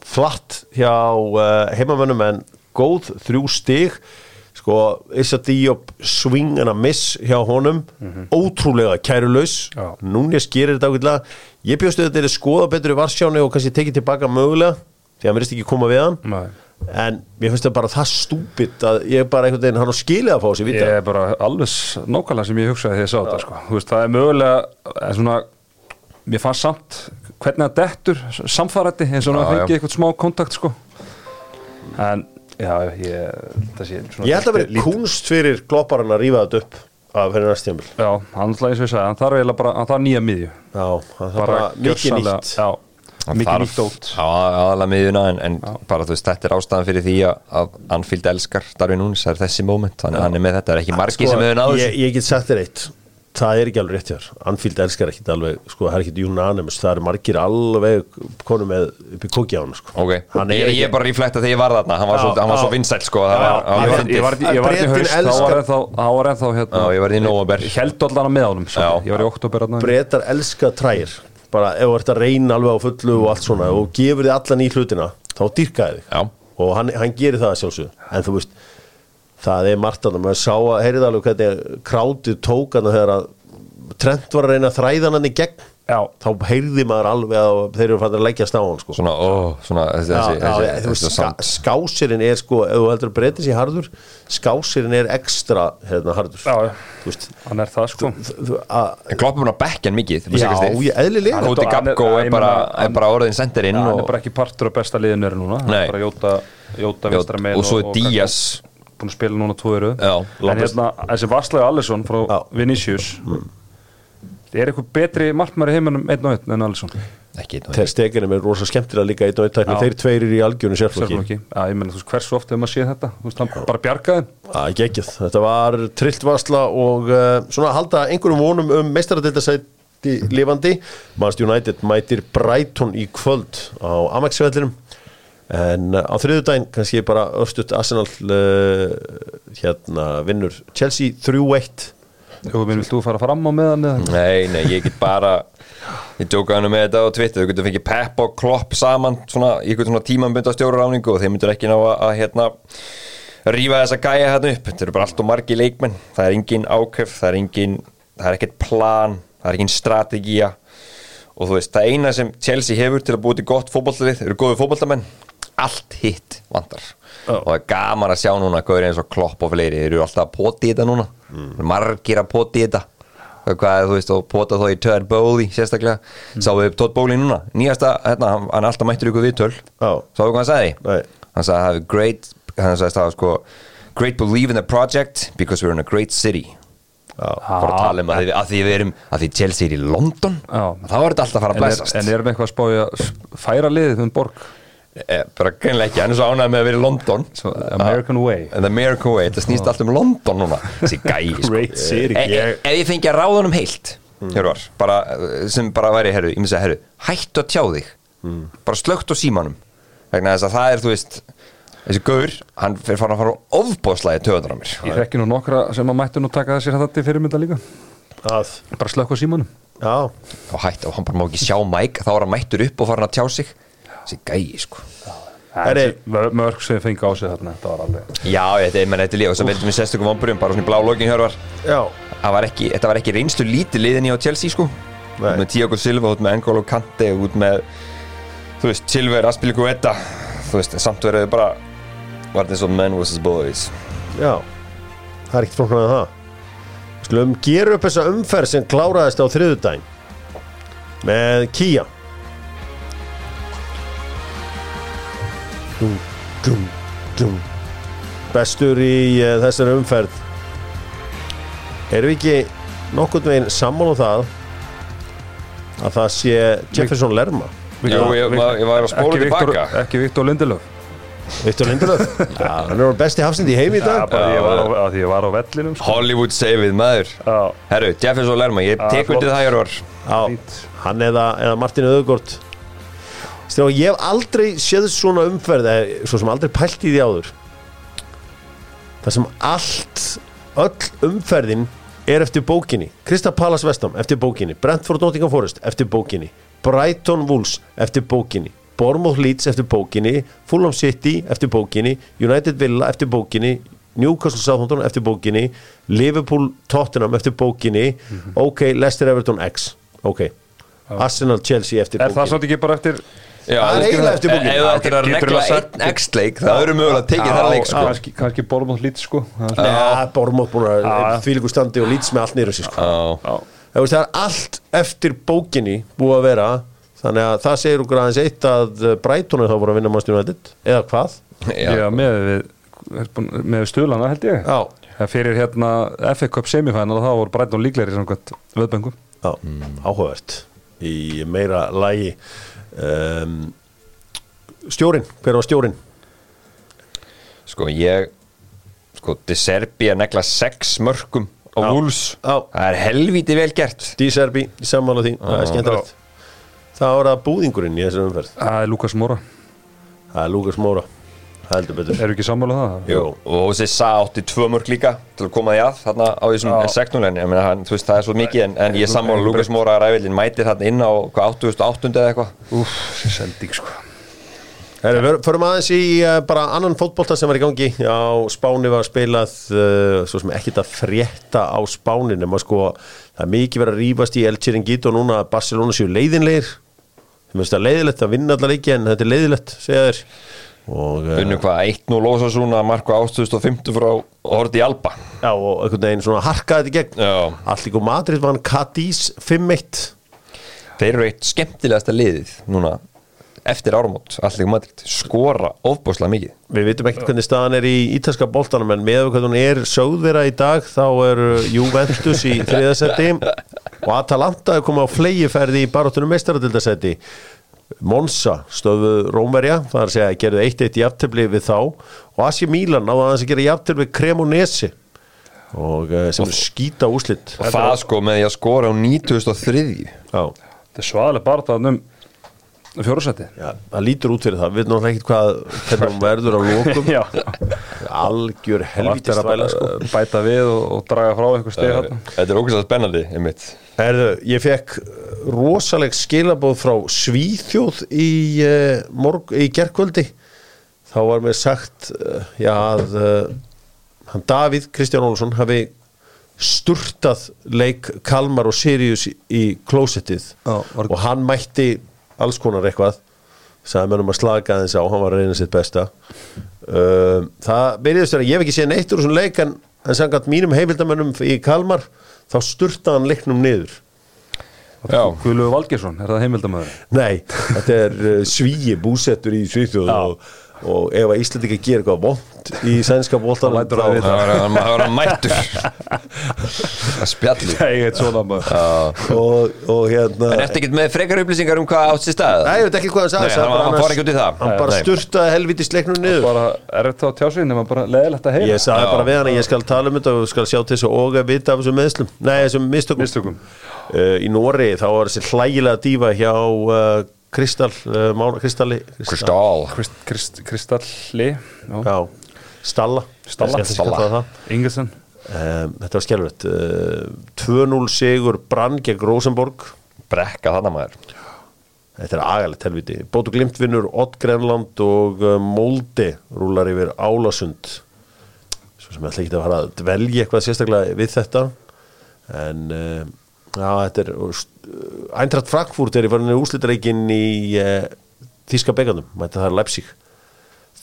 [SPEAKER 1] Flatt hjá uh, heimamönnum en góð þrjú stig sko, Issa Diop swing and a miss hjá honum ótrúlega kærulaus
[SPEAKER 3] Mhm. Já.
[SPEAKER 1] núna skerir þetta ákveðlega ég bjóstu þetta er skoða betur í Varsjáni og kannski tekið tilbaka mögulega því að hann verðist ekki koma við hann
[SPEAKER 3] Nei.
[SPEAKER 1] en mér finnst það bara það stúpid að ég bara einhvern veginn hann á skilið að fá þessi vita
[SPEAKER 3] Ég er bara alveg s- nákvæmlega sem ég hugsaði þegar ég sá þetta sko. Þú veist, það er mögulega er svona, mér fannst samt hvernig það dettur samfærætti eins og hann
[SPEAKER 2] Já, já.
[SPEAKER 3] fengið eitthvað smá kontakt sko. en já, ég það sé svona
[SPEAKER 1] Ég held að vera
[SPEAKER 3] lítið-
[SPEAKER 1] kunst fyrir klopparinn að rífa þetta upp af henni næst tíðanbíl.
[SPEAKER 3] Já, hann ætlaði eins og ég sagði, hann þarf eiginlega bara hann þarf nýja miðju
[SPEAKER 1] Já, það er bara mikið
[SPEAKER 3] gjörsamlega-
[SPEAKER 1] nýtt.
[SPEAKER 3] Já,
[SPEAKER 2] Hann
[SPEAKER 3] mikið
[SPEAKER 2] þarf
[SPEAKER 3] nýtt ótt
[SPEAKER 2] á aðalega miðjuna en, en bara þú veist, þetta er ástæðan fyrir því að, að Anfield elskar Darwin Núnes, það er þessi moment þannig að hann er með þetta, það er ekki margi sem hefur náðu
[SPEAKER 1] sko, ég, ég get sagt þér eitt, það er ekki alveg rétt hér. Anfield elskar ekkit alveg, sko, það er ekkit unanimous, það eru margir alveg konum með upp í kókja á hann, sko.
[SPEAKER 2] ok,
[SPEAKER 1] Hann
[SPEAKER 2] ég,
[SPEAKER 1] er
[SPEAKER 2] ég er bara reflekta þegar ég var þarna hann var,
[SPEAKER 1] Já,
[SPEAKER 2] svo, hann var
[SPEAKER 1] já.
[SPEAKER 2] svo vinsæl sko,
[SPEAKER 1] Já,
[SPEAKER 2] það var,
[SPEAKER 1] já, ég
[SPEAKER 2] hann var
[SPEAKER 1] var-
[SPEAKER 2] fyndið.
[SPEAKER 3] Ég var, ég var
[SPEAKER 1] Bretinn
[SPEAKER 3] í haust, þá
[SPEAKER 1] elskar-
[SPEAKER 3] var ennþá, þá var ennþá hérna,
[SPEAKER 2] Já, ég var í nóvember.
[SPEAKER 3] Held allan að með honum, svo.
[SPEAKER 2] Já.
[SPEAKER 3] ég var í oktober hérna.
[SPEAKER 1] Bretar elska træir, bara ef þú ert að reyna alveg á fullu og allt svona og gefur þið allan í hlutina, þá dýrkaði þig.
[SPEAKER 2] Já.
[SPEAKER 1] Og hann, hann gerir það að sjálfsögðu, en þú veist, það er margt að maður sá að, heyrið alveg hvernig krátið tók hann þegar að Trent var að reyna að þræða hann í gegn.
[SPEAKER 3] Já,
[SPEAKER 1] þá heyrði maður alveg að þeir eru fannir að leggja stá hann sko.
[SPEAKER 2] svona, ó, svona þessi,
[SPEAKER 1] Já,
[SPEAKER 2] þessi,
[SPEAKER 1] já,
[SPEAKER 2] þessi,
[SPEAKER 1] já, þú
[SPEAKER 2] þessi,
[SPEAKER 1] veist,
[SPEAKER 2] þessi
[SPEAKER 1] ska,
[SPEAKER 2] sound.
[SPEAKER 1] skásirinn er sko, ef þú heldur að breyta sér harður skásirinn er ekstra hérna harður
[SPEAKER 3] Já, já.
[SPEAKER 1] Þú veist,
[SPEAKER 3] hann er það sko
[SPEAKER 1] þú- þú- að-
[SPEAKER 2] en kloppum hún á bekkjan mikið
[SPEAKER 1] Já, ég- eðlilega.
[SPEAKER 2] Kóti
[SPEAKER 3] Hann er-
[SPEAKER 2] Gabko
[SPEAKER 3] hann er-
[SPEAKER 2] er bara,
[SPEAKER 3] hann-
[SPEAKER 2] er bara orðin sendirinn
[SPEAKER 3] hann
[SPEAKER 2] og,
[SPEAKER 3] er bara ekki partur af besta liðinu er núna Hann
[SPEAKER 2] Nei.
[SPEAKER 3] er bara jóta, jóta
[SPEAKER 2] og,
[SPEAKER 3] vinstra megin
[SPEAKER 2] og svo er Díaz
[SPEAKER 3] búin að spila núna tvo eru
[SPEAKER 2] Já,
[SPEAKER 3] en
[SPEAKER 2] Lambert.
[SPEAKER 3] hérna, þessi Varslega Allison frá
[SPEAKER 1] Já.
[SPEAKER 3] Vinicius
[SPEAKER 2] Mm.
[SPEAKER 3] það er eitthvað betri markmæri heiminum einn og einn en Allison
[SPEAKER 2] ekki, nú-
[SPEAKER 1] þeir stekinum er rosa skemmtilega líka eitt og eitt tækni,
[SPEAKER 3] Já.
[SPEAKER 1] þeir tveirir í algjörnu
[SPEAKER 3] Sjálfum
[SPEAKER 1] sérflokki
[SPEAKER 3] ekki. Já, ég meina, þú veist, hversu oft hefur maður séð þetta þú veist, hann bara bjargaði
[SPEAKER 1] að geggjað, þetta var trilltvasla og uh, svona að halda einhverjum vonum um meistaradeildasæti lifandi, Manchester United mætir Brighton í kvöld á Amex-vellinum en uh, á þriðudaginn kannski bara öfstutt Arsenal uh, hérna vinnur Chelsea 3-1
[SPEAKER 3] Þú minn, vilt þú fara fram á meðan eða?
[SPEAKER 2] Nei, nei, ég get bara ég djókaði hann með þetta á Twitter þau getur fengið Pep og Klopp saman svona, í einhvern svona tímanbund á stjóraráningu og þeir myndur ekki ná að, að hérna rífa þessa gæja hérna upp þetta eru bara allt og margi leikmenn það er engin ákjöf, það er engin það er ekkert plan, það er engin strategía og þú veist, það eina sem Chelsea hefur til að búið til gott fótballtalið eru góði fótballtamenn, allt hitt vandar og það er gaman að sjá
[SPEAKER 1] Mm.
[SPEAKER 2] núna hvað er eins og Klopp og fleiri, þeir eru alltaf að poti í þetta núna margir að poti í þetta hvað, þú veist, og pota þá í Todd Bowley sérstaklega,
[SPEAKER 1] Mm.
[SPEAKER 2] sáum við Todd Bowley núna nýjasta, hérna, hann- hann er alltaf mættur ykkur viðtöl
[SPEAKER 1] Já.
[SPEAKER 2] sáum við hvað hann sagði
[SPEAKER 1] Nei.
[SPEAKER 2] hann sagði, have a great, hann sagði það sko great belief in the project because we're in a great city
[SPEAKER 1] Já. Ah.
[SPEAKER 2] bara að tala um að því, að því við erum að því Chelsea er í London
[SPEAKER 3] Já.
[SPEAKER 2] þá er þetta alltaf að fara að
[SPEAKER 3] En er,
[SPEAKER 2] blæsast
[SPEAKER 3] en erum eitthvað að spája að s- færa liðið um borg
[SPEAKER 2] Eh, bara greinlega ekki, hann er svo ánægð með að vera í London
[SPEAKER 3] Svo, American way.
[SPEAKER 2] the American way, þetta snýst allt um London núna þessi (laughs) gæi sko.
[SPEAKER 1] Great city,
[SPEAKER 2] Eh, eh,
[SPEAKER 1] ég-
[SPEAKER 2] ef ég Mm. fengi að ráða honum heilt Hjörvar, bara, eh, sem bara væri herru, ég myndi að herru, hættu að tjá þig bara slögt á símanum vegna þess að það er, þú veist þessi gaur, hann fyrir farin að fara ofbóðslega töðunar á mér
[SPEAKER 3] Ég þekki nú nokkra sem að mættu nú taka þessir þetta til fyrirmynda líka
[SPEAKER 1] Að,
[SPEAKER 3] Bara slökk á símanum
[SPEAKER 1] já,
[SPEAKER 2] og hættu, og hann bara má ekki sjá Mike þá er hann mættur upp og farin að tjá sig þessi gæi, sko
[SPEAKER 1] Herri.
[SPEAKER 3] Þessi mör- Mörk sem fengi á sig þarna, þetta var alveg
[SPEAKER 2] Já, þetta er, menn, þetta er líka, og svo veldum við sérstökum vonbrjum, bara svona í blá lokin, Hjörvar
[SPEAKER 1] já,
[SPEAKER 2] Það var ekki, þetta var ekki reynslu lítið liðin í á Chelsea sko
[SPEAKER 1] Nei.
[SPEAKER 2] Út með Tiago Silva, út með N'Golo Kante, út með Þú veist, Silver, Aspilicueta Þú veist, en samt verður þau bara Var þetta eins og men vs. boys
[SPEAKER 1] já Það er ekkert flóknar en það Við Skulum gera upp þessa umferð sem kláraðist á þriðudaginn með Kia dum, dum, dum. Bestur í uh, þessari umferð Erum við ekki nokkurn veginn sammála um það að það sé Jefferson Lerma
[SPEAKER 2] Jú, ég, maður- ég var að spóla
[SPEAKER 3] Ekki Viktor-
[SPEAKER 2] tilbaka
[SPEAKER 3] Ekki Viktor Lindelöf
[SPEAKER 1] Viktor Lindelöf Já, hann er besti hafsend í heimi í dag
[SPEAKER 2] bara ég var
[SPEAKER 3] á, ég var á vellinum sko.
[SPEAKER 2] Hollywood save it, maður
[SPEAKER 3] Já.
[SPEAKER 2] Herru, Jefferson Lerma, ég
[SPEAKER 3] Já,
[SPEAKER 2] tek
[SPEAKER 3] flott.
[SPEAKER 2] undir það, Hjörvar
[SPEAKER 1] Já,
[SPEAKER 3] Fínt.
[SPEAKER 1] hann eða, eða Martin Öðugort Strá, ég hef aldrei séð svona umferð eða svo sem aldrei pælt í því áður Það sem allt öll umferðin er eftir bókinni Krista Palace Vestam eftir bókinni Brentford Nottingham Forest eftir bókinni Brighton Wolves eftir bókinni Bournemouth Leeds eftir bókinni Fulham City eftir bókinni United Villa eftir bókinni Newcastle Southampton eftir bókinni Liverpool Tottenham eftir bókinni
[SPEAKER 3] Mhm.
[SPEAKER 1] OK, Leicester Everton X OK, Arsenal Chelsea eftir
[SPEAKER 3] Er það
[SPEAKER 1] bókinni
[SPEAKER 3] svolítið ekki bara eftir
[SPEAKER 2] Já,
[SPEAKER 1] Það er
[SPEAKER 2] þú-
[SPEAKER 1] eiginlega eftir bókinni.
[SPEAKER 2] Ef
[SPEAKER 1] Já,
[SPEAKER 2] þú ættir að
[SPEAKER 3] getur
[SPEAKER 2] regla
[SPEAKER 3] þú sagt-
[SPEAKER 2] einn X-leik, það eru mögulega að tekið það leik, sko
[SPEAKER 3] Kanski, kanski Bormóð lít sko Það er-
[SPEAKER 1] Já, Bournemouth búin
[SPEAKER 3] Já.
[SPEAKER 1] að þvílíku standi og Leeds með allt nýra sér sko
[SPEAKER 2] Já.
[SPEAKER 3] Já.
[SPEAKER 1] Það veist, það er allt eftir bókinni búið að vera Þannig að það segir okkur aðeins eitt að eh, Brighton er þá voru að vinna Manchester United Eða hvað?
[SPEAKER 2] Já.
[SPEAKER 3] Já, með við með við stuðlana held ég
[SPEAKER 1] Já.
[SPEAKER 3] Það fyrir hérna FA Cup semifæna þá voru Brighton líklegri samkvæmt veðbengum
[SPEAKER 1] Já, áhugavert Í meira lagi um, Stjórin, hver var stjórin?
[SPEAKER 2] Sko ég Sko De Serbi að negla sex mörgum á
[SPEAKER 1] Já.
[SPEAKER 2] Wolves
[SPEAKER 1] Já.
[SPEAKER 2] Það er helvítið vel gert
[SPEAKER 1] Díserbi, sammála því, það er skemmtilegt Það var það búðingurinn í þessum umferð
[SPEAKER 3] Það er Lukas Mora,
[SPEAKER 1] Það er Lukas Móra, heldur betur
[SPEAKER 3] eru ekki sammála um það?
[SPEAKER 1] Jú.
[SPEAKER 2] Og þessi sa átti tvö mörg líka til að koma því að þarna á þessum seknulegin ég meina hann, þú veist það er svo mikið en, en ég sammála Lukas Móra ræfilin mætir þarna inn á hvað 8800 eða eitthvað
[SPEAKER 3] Úf, sem sending sko
[SPEAKER 1] Herri, við förum aðeins í uh, bara annan fótbolta sem var í gangi á Spáni var spilað uh, svo sem ekkit að frétta á Spáni nema sko það er mikið verið að rýfast í El Chiringuito núna að Barcelona séu leiðinleir þeim finnst það leiðilegt að vinna allar ekki en þetta er leiðilegt segja þér og, uh,
[SPEAKER 2] Unnu hvað 1-0 lósa svona marka 8050 frá Horti Alba
[SPEAKER 1] já, og einhvern veginn svona harkaði þetta í gegn
[SPEAKER 2] Já.
[SPEAKER 1] allt líka Madrid vann Cadiz 5-1
[SPEAKER 2] Þeir eru eitt skemmtilegasta liðið núna eftir áramót allir Madrid skora ofbúslega mikið
[SPEAKER 1] Við vitum ekkert hvernig staðan er í ítalska boltanum en með hvernig hún er sögðvera í dag þá er uh, Juventus í þriðasetti og Atalanta er komið á flegiferði í baróttunum mestaradildasetti Monza stöðu Rómverja það er að segja að gerðu eitt eitt jafntefli við þá og Asi Milan náða aðeins að gera jafntefli við Cremonesi og uh, sem er skýta úslit
[SPEAKER 2] og það sko með því að skora á 9003
[SPEAKER 1] Já,
[SPEAKER 3] Þetta er svaðalega bara það um fjórusæti
[SPEAKER 1] já, það lítur út fyrir það við veitum náttúrulega ekkert hvað hvernig hún verður á lókum
[SPEAKER 3] (laughs) Já,
[SPEAKER 1] algjör helvítið
[SPEAKER 3] að
[SPEAKER 1] stvæla sko
[SPEAKER 3] bæta við og, og draga frá einhver steg
[SPEAKER 2] Þetta
[SPEAKER 3] hérna
[SPEAKER 2] þetta er ógæslega spennandi einmitt.
[SPEAKER 1] Herðu, ég fekk rosaleg skilabóð frá Svíþjóð í, uh, morg, í gerkvöldi þá var mér sagt uh, já, að uh, hann Davíð Kristján Olsson hafi sturtað leik Kalmar og Sirius í- í klósettið
[SPEAKER 3] Já, var-
[SPEAKER 1] og hann mætti alls konar eitthvað sagði mér um að slaka aðeins á, hann var að reyna sitt besta Ehm, um, það byrjuðist að ég hef ekki séð neitt úr þessum leik en, en sangat mínum heimildamönnum í Kalmar þá sturtaði hann leiknum niður
[SPEAKER 2] Já.
[SPEAKER 3] Guðlöfu Valgersson, er það heimildamöður?
[SPEAKER 1] Nei, þetta er uh, svíi búsettur í Svíþjóð og, og ef að Íslandi ekki gera eitthvað vond í sænska bóltanum
[SPEAKER 3] lætur hann vita.
[SPEAKER 2] Það var- hann var (laughs) hann mættur að spjalli
[SPEAKER 3] (laughs) Nei, eitt svona maður
[SPEAKER 1] og, og hérna
[SPEAKER 2] En ertu ekkert með frekar upplýsingar um hvað átt sér stað?
[SPEAKER 1] Nei, ég veit ekki hvað hann sagði
[SPEAKER 2] Nei,
[SPEAKER 1] sagði
[SPEAKER 2] hann-
[SPEAKER 1] bara
[SPEAKER 2] hann
[SPEAKER 1] annars-
[SPEAKER 2] fór ekki út í það.
[SPEAKER 1] Hann
[SPEAKER 2] Nei,
[SPEAKER 1] bara
[SPEAKER 2] nei.
[SPEAKER 1] sturtaði helvitis leiknum niður
[SPEAKER 3] Bara er þetta á tjásið nema bara leðilegt að heyra
[SPEAKER 1] Ég sagði
[SPEAKER 2] Já.
[SPEAKER 1] bara við hann að ég skal tala um þetta og skal sjá til þessu og að vita af þessum meðslum Nei, þessum mistökum,
[SPEAKER 3] Mistökum.
[SPEAKER 1] Uh, Í Nóri þá var þessi hlægilega dífa hjá uh, Kristall uh, Mána, Kristalli Kristall.
[SPEAKER 2] Kristall
[SPEAKER 3] Krist, krist, Kristalli já.
[SPEAKER 1] Já, Stalla
[SPEAKER 3] Stalla.
[SPEAKER 1] Ég ætla að kalla
[SPEAKER 2] Stalla.
[SPEAKER 1] það.
[SPEAKER 3] Ingelsen
[SPEAKER 1] Um, þetta var skelvett uh, 2-0 sigur Brann gegn Rosenborg
[SPEAKER 2] Brekka þarna maður
[SPEAKER 1] þetta er agalegt helviti Bótu Glimtvinnur, Ott Grenland og uh, Moldi rúlar yfir Álasund svo sem ég ætla ekki að fara að dvelja eitthvað sérstaklega við þetta en uh, já, þetta er uh, Æntrætt Frankfurt er í farinni úslitreikin í uh, Þíska beigandum, mæta það er Leipzig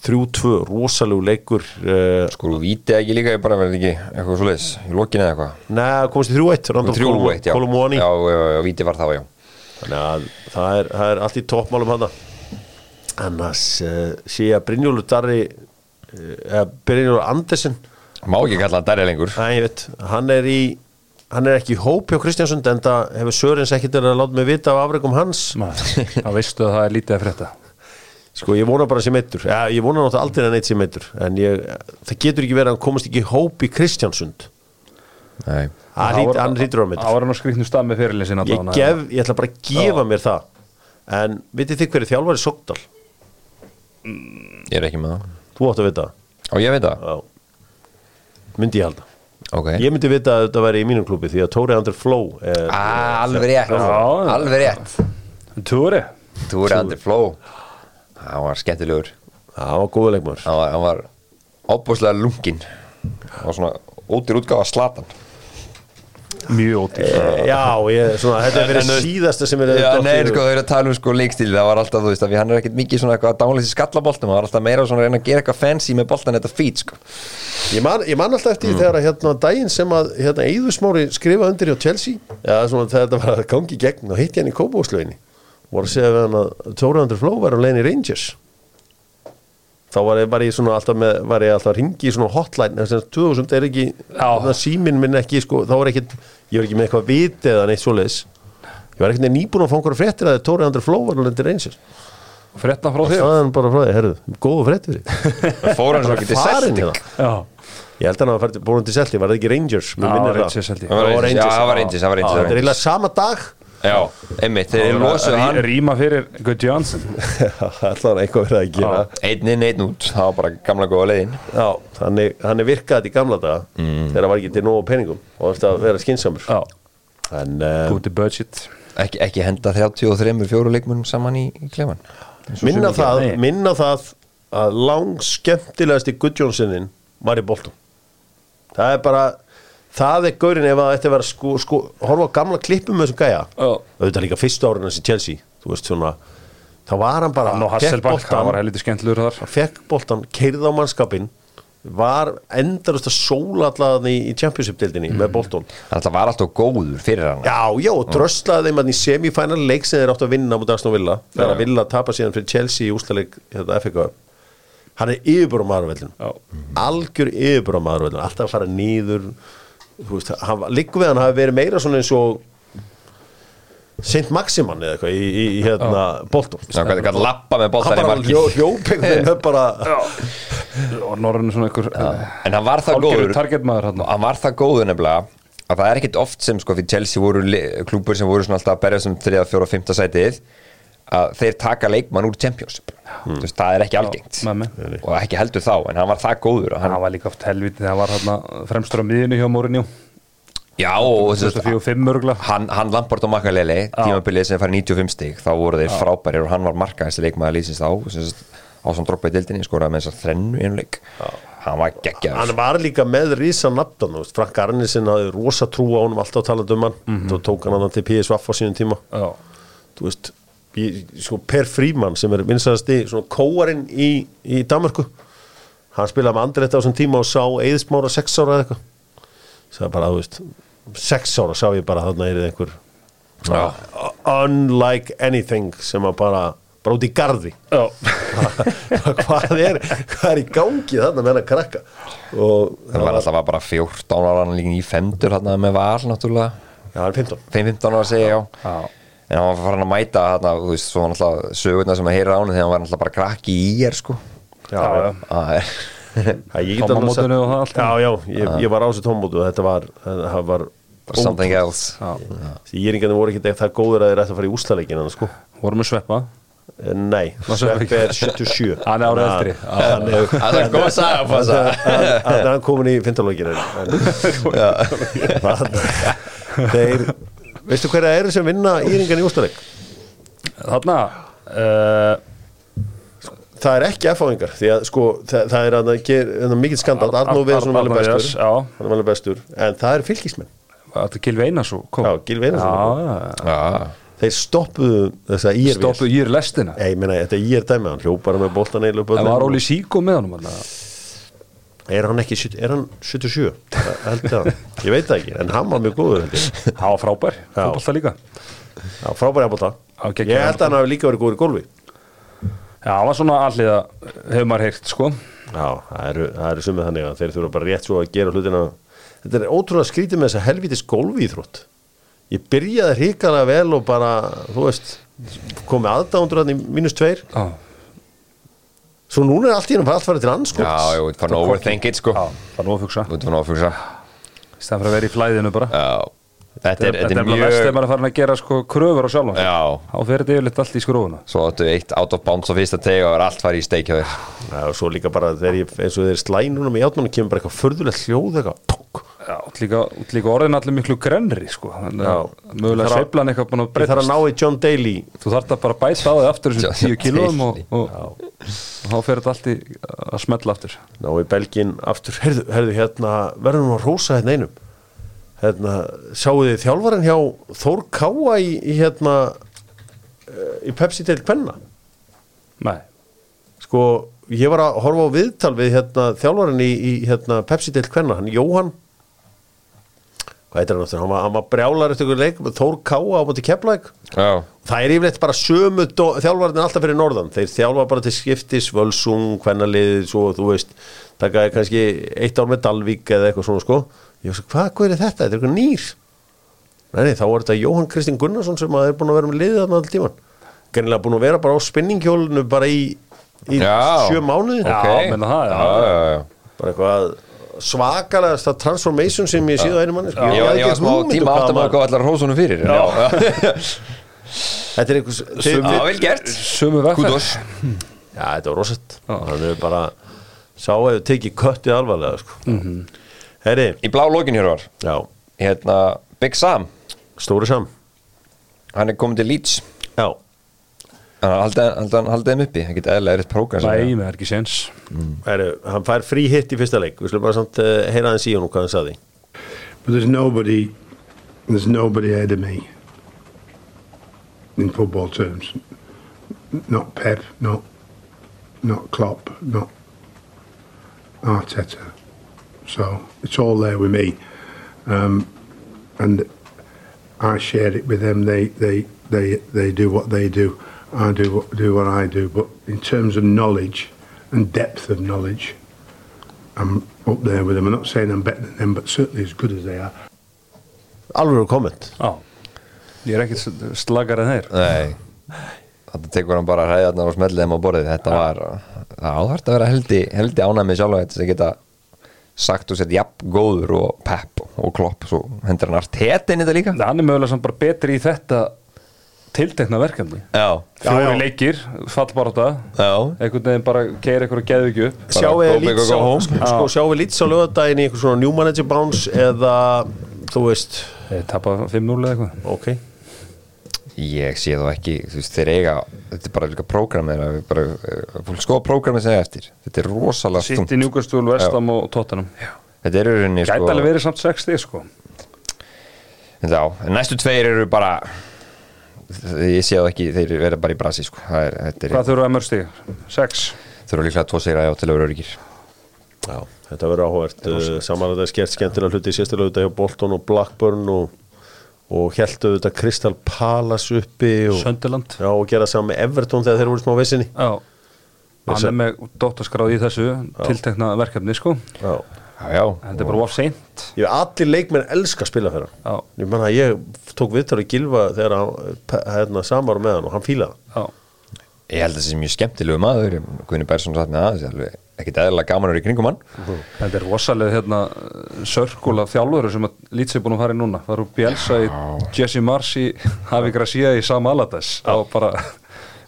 [SPEAKER 1] 3-2, rosalegu leikur uh,
[SPEAKER 2] Sko, víti ekki líka, ég bara verði ekki eitthvað svo leiðis Í lokinni eða eitthvað
[SPEAKER 1] neða, komast í 3-1 Randolph
[SPEAKER 2] Þrjúveitt, já
[SPEAKER 1] Kolomouani.
[SPEAKER 2] Já, já, já, víti var þá, já
[SPEAKER 1] Þannig að það er, það er allt í toppmálum hana Annars uh, sé ég að Brynjólu Darri uh, Brynjólu Andersen
[SPEAKER 2] Má ekki kalla hann Darja lengur
[SPEAKER 1] Æ, ég veit, hann er í hann er ekki í hópi á Kristjánsund en það hefur Sörens ekkert verið að láta mig vita af afrekum hans
[SPEAKER 3] Það veistu að það er lítið að frétta
[SPEAKER 1] Sko, ég vona bara sem eittur ja, Ég vona náttúrulega aldrei að neitt sem eittur En ég, það getur ekki verið að hann komast ekki í hópi í Kristjánsund
[SPEAKER 2] Nei
[SPEAKER 1] Hann
[SPEAKER 3] Það
[SPEAKER 1] hlýtur-
[SPEAKER 3] var-
[SPEAKER 1] hann hlýtur á mig
[SPEAKER 3] Það var hann á skrýtnu stað með fyrirlið sinna
[SPEAKER 1] Ég, gef, ég ætla bara að gefa mér það En vitið þið hverju þjálfari Sogdal?
[SPEAKER 2] Ég er ekki með það
[SPEAKER 1] Þú átt að vita það
[SPEAKER 2] Ó, ég veit það
[SPEAKER 1] Já. myndi ég halda
[SPEAKER 2] Ok
[SPEAKER 1] ég myndi vita að þetta væri í mínum klúbi því að Tóri Andri Fló er,
[SPEAKER 2] Ah, alveg rétt
[SPEAKER 3] Já.
[SPEAKER 2] Alveg rétt
[SPEAKER 3] Túri
[SPEAKER 2] Þú er andir fló Það var skemmtilegur
[SPEAKER 1] það var góða leikmar
[SPEAKER 2] Það var, hann var opbúslega lungin Það var svona ótir útgáfa slatan
[SPEAKER 3] Mjög ótið
[SPEAKER 1] já, ég, svona, þetta er
[SPEAKER 2] En-
[SPEAKER 1] verið
[SPEAKER 2] en-
[SPEAKER 1] síðasta sem er
[SPEAKER 2] Já,
[SPEAKER 1] dottið
[SPEAKER 2] nei,
[SPEAKER 1] í hug.
[SPEAKER 2] sko, þau eru að tala um sko leikstíl Það var alltaf, þú veist, að hann er ekkert mikið svona eitthvað dánleysi skallaboltum, það var alltaf meira svona að reyna að gera eitthvað fancy með boltan þetta fít, sko
[SPEAKER 1] ég, man, ég man alltaf eftir mm. þegar að hérna daginn sem að hérna Eðusmári skrifa undir hjá Chelsea já, svona, þegar þetta var að gangi í gegn og hitti hann í Kópavóðslöginni voru að segja við hann að Tóri Andri Fló var á leiðin í Rangers þá var ég, var ég svona alltaf með, var ég alltaf að ringi í svona hotline, þess að 2000 er ekki þannig að síminn minn ekki, sko, þá var ekki ég var ekki með eitthvað viti eða neitt svoleiðis ég var ekkert nýbúin að fá einhverja fréttir að Tóri Andri Fló var alveg til reynsir
[SPEAKER 3] Frétta frá þér
[SPEAKER 1] það er bara frá því, herðu, góða fréttir
[SPEAKER 2] Fór hann svo ekki til
[SPEAKER 1] farin
[SPEAKER 2] Celtic
[SPEAKER 1] hérna
[SPEAKER 3] Já
[SPEAKER 1] ég held að hann var búin til Celtic, var það ekki Rangers
[SPEAKER 3] Já,
[SPEAKER 1] mér minnir
[SPEAKER 3] Rangers held ég.
[SPEAKER 1] það var
[SPEAKER 2] Já, það
[SPEAKER 1] Rangers Já,
[SPEAKER 2] var Rangers, það var Rangers, það var
[SPEAKER 1] þetta er
[SPEAKER 2] Rangers.
[SPEAKER 1] eiginlega sama
[SPEAKER 3] (laughs)
[SPEAKER 1] dag
[SPEAKER 2] Já, einmitt, þeir losuðu
[SPEAKER 3] Rí-
[SPEAKER 2] hann
[SPEAKER 3] Ríma fyrir Guð Jansson
[SPEAKER 1] allan eitthvað verið að gera
[SPEAKER 2] Einn inn, einn út, það var bara gamla góða leiðin
[SPEAKER 1] já, þannig, hann er virkað þetta í gamla daga þegar hann var ekki til nógu peningum og þetta að vera skinsamur
[SPEAKER 3] Já
[SPEAKER 1] en um,
[SPEAKER 3] Guti budget
[SPEAKER 2] Ekki, ekki henda 33 fjóru leikmunum saman í, í klefan
[SPEAKER 1] minna það,
[SPEAKER 3] Nei.
[SPEAKER 1] minna það að langskemmtilegasti Gudjónsinnin var í boltum það er bara það er gaurin ef að þetta var sko, sko horfa á gamla klippum með þessum gæja
[SPEAKER 3] Já.
[SPEAKER 1] auðvitað líka fyrstu árin hans í Chelsea þú veist svona þá var hann bara
[SPEAKER 3] Hann og
[SPEAKER 1] fékk
[SPEAKER 3] Hasselbank Það var
[SPEAKER 1] boltan,
[SPEAKER 3] helviti skemmtilegur þar
[SPEAKER 1] fekk boltan keirði á mannskapin var endarast að sóla allan í, í Championship-dildinni með boltun
[SPEAKER 2] Það var alltaf góður fyrir hann
[SPEAKER 1] Já, já, og dröslaði þeim að í semifænal leik sem þeir áttu að vinna mútið Aston Villa þegar að Villa tapa síðan fyrir Chelsea í úslaleg þetta FK hann er yfirbúrum maðurvellin
[SPEAKER 3] Já.
[SPEAKER 1] algjör yfirbúrum maðurvellin alltaf að fara nýður veist, hann, var- liggur við hann hafi verið meira svona eins og Saint Maximan eða eitthvað í, í, í hérna Bolton
[SPEAKER 2] Ná, hvernig gæti lappa með
[SPEAKER 1] hann
[SPEAKER 2] boltan í
[SPEAKER 1] bara
[SPEAKER 2] marki
[SPEAKER 1] hljó, hljópegum með bara
[SPEAKER 3] Og norðinu svona einhver eh,
[SPEAKER 2] En hann var það
[SPEAKER 3] Algjöru
[SPEAKER 2] góður
[SPEAKER 3] targetmaður hann
[SPEAKER 2] hann var það góður nefnilega að það er ekkit oft sem sko fyrir Chelsea voru le- klúbur sem voru svona alltaf að berja sem 3, 4 og 5 sætið að þeir taka leikmann úr Championship mm. Þess, það er ekki algengt
[SPEAKER 3] Hmm. með mig.
[SPEAKER 2] og ekki heldur þá, en hann var það góður að hann,
[SPEAKER 3] Það var líka oft helviti þegar hann var hann fremstur á miðinu hjá Mourinho
[SPEAKER 2] já, og þess,
[SPEAKER 3] 2005 örgla
[SPEAKER 2] hann, hann Lamport og Makalele tímabilið sem fær 95 stig þá voru þeir frábærir og hann var markaðist leikmann að lýsins þá sem, sagt, á sem droppa í dildinni skoraði með þess að þrennu í einu leik hann var geggjaður
[SPEAKER 1] hann var líka með rísa nafndan Frank Arnesen hafði rosa trú á honum alltaf talað um hann,
[SPEAKER 2] Mhm.
[SPEAKER 1] þá tók hann hann til PSVF á sínum tíma
[SPEAKER 3] Já
[SPEAKER 1] þú veist ég, sko Per Fríman sem er vinsæðasti svona kóarinn í, í Danmarku hann spilaði með Andrétt á þessum tíma og sá Eiðsmára 6 ára eða eitthvað sagði bara þú veist sex ára sá ég bara þarna er einhver
[SPEAKER 2] Já.
[SPEAKER 1] unlike anything sem að bara bara út í garði (laughs)
[SPEAKER 3] Já,
[SPEAKER 1] hvað er hvað er í gangi þarna með hennar krakka og
[SPEAKER 2] Það var alltaf bara 14 ára hann líkin í femtur hérna með val náttúrulega
[SPEAKER 1] já, hann er 15
[SPEAKER 2] 5-15 ára segi ég já
[SPEAKER 3] já.
[SPEAKER 2] En hann var farin að mæta þarna, þú veist, svo hann alltaf sögurna sem að heyra á hann þegar hann var alltaf bara krakki í er sko
[SPEAKER 1] já,
[SPEAKER 3] já.
[SPEAKER 2] Það er
[SPEAKER 1] Æ, ég get alveg sagt-
[SPEAKER 3] Tómamótinu og það allt
[SPEAKER 1] já, já, ég, ég var á þessu tómmótu og þetta var, það var
[SPEAKER 2] bara something else
[SPEAKER 3] já.
[SPEAKER 1] ég er einhvern voru ekki það góður að þeir ættu að fara í úslaleikin sko.
[SPEAKER 3] Vorum við sveppa
[SPEAKER 1] Eh, nei,
[SPEAKER 3] Var Sveppi
[SPEAKER 1] Sveppi er 77
[SPEAKER 3] (laughs) Hann er árið eldri. Já.
[SPEAKER 1] hann er-
[SPEAKER 2] Það er góð að sagja á þess að
[SPEAKER 1] hann er hann komin í fintalókinu þeir veistu hverja eru sem vinna íringan í úslaleik
[SPEAKER 3] Þarna uh,
[SPEAKER 1] það er ekki F-áðingar því að sko það, það er að það ger það er mikill skandalt, Arnó
[SPEAKER 3] Arnór
[SPEAKER 1] Veðursson var alveg
[SPEAKER 3] Viðars,
[SPEAKER 1] bestur
[SPEAKER 3] já.
[SPEAKER 1] hann var alveg bestur, en það er fylgismenn
[SPEAKER 3] Þetta er Gilvi Einarsson kom.
[SPEAKER 1] já, Gilvi Einarsson,
[SPEAKER 3] Já, já,
[SPEAKER 2] Já,
[SPEAKER 1] þeir stoppuðu þess að
[SPEAKER 3] já.
[SPEAKER 1] ír
[SPEAKER 3] Stoppu ír lestina
[SPEAKER 1] ég meina, þetta er ír dæmi, hann hljópar með boltan eilu
[SPEAKER 3] En var Óli Síko með honum alveg?
[SPEAKER 1] er hann ekki, 70 er hann 77 Það held ég að, ég veit það ekki, en hann var mjög góður held ég,
[SPEAKER 3] Það var frábær, fótbolta líka
[SPEAKER 1] já, frábæri að bolta
[SPEAKER 3] Já,
[SPEAKER 1] ég
[SPEAKER 3] geggjaður.
[SPEAKER 1] held að hann hafi líka verið góður í golfi
[SPEAKER 3] Já, það var svona alliða, hefur maður heyrt sko
[SPEAKER 1] já, það eru, það eru sumið þannig að þeir þurfa bara rétt svo að gera hlutina þetta er ótrúlega skrítið með þessa helvitis golfi íþrótt ég byrjaði hrikalega vel og bara, þú veist komið aðdándur hann í mínus tveir
[SPEAKER 3] Já,
[SPEAKER 1] svo núna er allt í hann allt farið til
[SPEAKER 2] já,
[SPEAKER 1] anskots
[SPEAKER 2] ég veit fann overthink it sko
[SPEAKER 3] já það er nú að fugsa
[SPEAKER 2] Út fann ofugsa
[SPEAKER 3] Stæðan fyrir að vera í flæðinu bara
[SPEAKER 2] sko. Já, þetta er, þetta er
[SPEAKER 3] bara verst þegar
[SPEAKER 2] mjög
[SPEAKER 3] maður er farin að gera sko kröfur á sjálfan sig.
[SPEAKER 2] Já,
[SPEAKER 3] Þá fer þetta yfirleitt allt í skrúfuna
[SPEAKER 2] svo áttu eitt out of bounds á fyrsta teg og er allt farið í steik hjá þér
[SPEAKER 1] Já, og svo líka bara þegar ég, eins og þeir slæ núna með játnum kemur bara eitthvað förðulegt hljóð eitthvað tók.
[SPEAKER 3] Já, út líka, út líka orðin allir miklu grennri sko Þannig að
[SPEAKER 1] Já.
[SPEAKER 3] Mögulega
[SPEAKER 1] Þarf að-
[SPEAKER 3] sveiflan eitthvað búin að
[SPEAKER 1] Ég þarf að
[SPEAKER 3] breytast
[SPEAKER 1] ná í John Daly
[SPEAKER 3] Þú þarf það bara að bæta á þig aftur þessum
[SPEAKER 2] Já,
[SPEAKER 3] 10 kílóum og,
[SPEAKER 2] til.
[SPEAKER 3] og, og þá fer þetta allt í að smetla aftur
[SPEAKER 1] ná í Belgin aftur, herðu, herðu hérna verður nú að rósa hérna einum hérna, sjáu þið þjálfaran hjá Þór Káa í, í hérna eh, í Pepsi til Kvenna
[SPEAKER 3] Nei,
[SPEAKER 1] sko, ég var að horfa á viðtal við hérna þjálfaran í, í hérna Pepsi til Kvenna, hann Jóhann hvað heitir hann aftur, hann var, hann var brjálar eftir ykkur leik, Þór Káa á bóti Keflæk
[SPEAKER 2] Já,
[SPEAKER 1] Það er yfirleitt bara sömu dó- þjálfarnir alltaf fyrir norðan, þeir þjálfa bara til skiptis, völsung, hvernalið, svo þú veist, taka kannski eitt ár með Dalvík eða eitthvað svona sko, ég veist, hvað, hvað er þetta, þetta er eitthvað nýr, nei, nei, þá er þetta Jóhann Kristinn Gunnarsson sem að er búin að vera með liðið þarna all tíman, gernilega búin að vera bara á spinninghjólinu bara í, í
[SPEAKER 2] Já.
[SPEAKER 1] sjö mánuði,
[SPEAKER 3] Já,
[SPEAKER 2] ok.
[SPEAKER 3] meina það, já.
[SPEAKER 2] já, já, já.
[SPEAKER 1] bara eitthvað svakalegasta transformation sem ég séð á einu manni, sko.
[SPEAKER 2] Ég, var- ég var smá tíma átt að maður
[SPEAKER 1] góð.
[SPEAKER 2] um hvað allar hrósunum fyrir en Já, (laughs)
[SPEAKER 1] Þetta er eitthvað,
[SPEAKER 2] já, vel gert
[SPEAKER 3] sömu vegferð
[SPEAKER 2] Kudos
[SPEAKER 1] Já, þetta var rosett Þannig við bara sá að þau tekið köttið alvarlega sko. Herri,
[SPEAKER 2] Í blá lokin hér var
[SPEAKER 1] já,
[SPEAKER 2] Hérna, Big Sam
[SPEAKER 1] stóri sam
[SPEAKER 2] Hann er komin til Leeds
[SPEAKER 1] Já,
[SPEAKER 2] Hann haldið haldið- hann haldið þeim uppi Hann getið eðlilega eitt prógram
[SPEAKER 3] Nei, með er ekki séns
[SPEAKER 1] herri, hann fær frí hitt í fyrsta leik Við slum bara samt uh, heyra hans í honum hvað hann saði
[SPEAKER 4] But there's nobody, there's nobody ahead of me in football terms. Not Pep, not not Klopp, not Arteta. So it's all there with me, um, and I share it with them. They they they they do what they do. I do what, do what I do. But in terms of knowledge and depth of knowledge, I'm up there with them. I'm not saying I'm better than them, but certainly as good as they are.
[SPEAKER 1] Alveg komment
[SPEAKER 3] Já, ég er ekki slagar en þeir
[SPEAKER 2] Nei Þetta tekur hann bara hræðarnar og smellið þeim á borðið Þetta var Það áhvert að vera heldi, heldi ánæmi sjálf Þetta sem geta sagt og sett jafn góður og pepp og klopp Svo hendur hann allt inn í þetta líka
[SPEAKER 3] Þannig hann er mögulega samt bara betri í þetta tiltekna verkefni
[SPEAKER 2] Já,
[SPEAKER 3] Fjóri leikir, fallbaráta
[SPEAKER 2] já
[SPEAKER 3] einhvern veginn bara keir einhverju geðugju
[SPEAKER 2] Bara
[SPEAKER 1] Sjáum
[SPEAKER 2] go
[SPEAKER 1] við
[SPEAKER 2] big or
[SPEAKER 1] lýts
[SPEAKER 2] go
[SPEAKER 1] á
[SPEAKER 2] home.
[SPEAKER 1] sko, sko, Sjáum við lýts á lögadaginn í einhver svona new manager bounce eða, þú veist
[SPEAKER 3] Þeir tapa 5-0 eða eitthvað
[SPEAKER 1] Ok,
[SPEAKER 2] Ég sé þá ekki, þú veist, þeir eiga þetta er bara líka prógramið að við bara, eh, fólk skoða prógramið sem er eftir þetta er rosalega
[SPEAKER 3] Sitt í
[SPEAKER 2] stund,
[SPEAKER 3] Njúkastúl, Vestam og Tottenham
[SPEAKER 2] þetta er rauninni
[SPEAKER 3] Gæti
[SPEAKER 2] sko,
[SPEAKER 3] alveg verið samt 6 stíð sko
[SPEAKER 2] já, en næstu tveir eru bara ég sé þá ekki, þeir verða bara í brasi sko, það er, þetta er,
[SPEAKER 3] Hvað þurfa að mörg stíð? 6
[SPEAKER 2] þurfa líklega tvo sigra já til að vera öryggir
[SPEAKER 1] já, Þetta verður áhugavert Saman að þetta er skert skemmtilega hluti Sérstilega auðvitað hjá Bolton og Blackburn og, og held auðvitað Crystal Palace uppi og,
[SPEAKER 3] Söndiland
[SPEAKER 1] Já, og gera saman með Everton þegar þeir voru í smá vissinni
[SPEAKER 3] Já Hann
[SPEAKER 1] Þessi-
[SPEAKER 3] er með dóttaskráð í þessu tiltekna verkefni sko
[SPEAKER 1] Já
[SPEAKER 2] Já, já,
[SPEAKER 3] Þetta er bara of seint
[SPEAKER 1] Ég veit allir leikmenn elska að spila fyrir
[SPEAKER 3] Já.
[SPEAKER 1] hann Ég menna að ég tók viðtal í Gilva þegar hann pe- hérna, samar með hann og hann fílaði hann
[SPEAKER 3] Já
[SPEAKER 2] Ég held að það sé mjög skemmtilegu maður Guðni Bergson satt með aðeins alveg ekkert eðlilega gamanur í kringum hann
[SPEAKER 3] Þetta er rosalega hérna sörkula þjálfur sem að lítið er búin að fara í núna Það eru Bielsa í Jesse Mars í Havi Gracia í Sam Alades á bara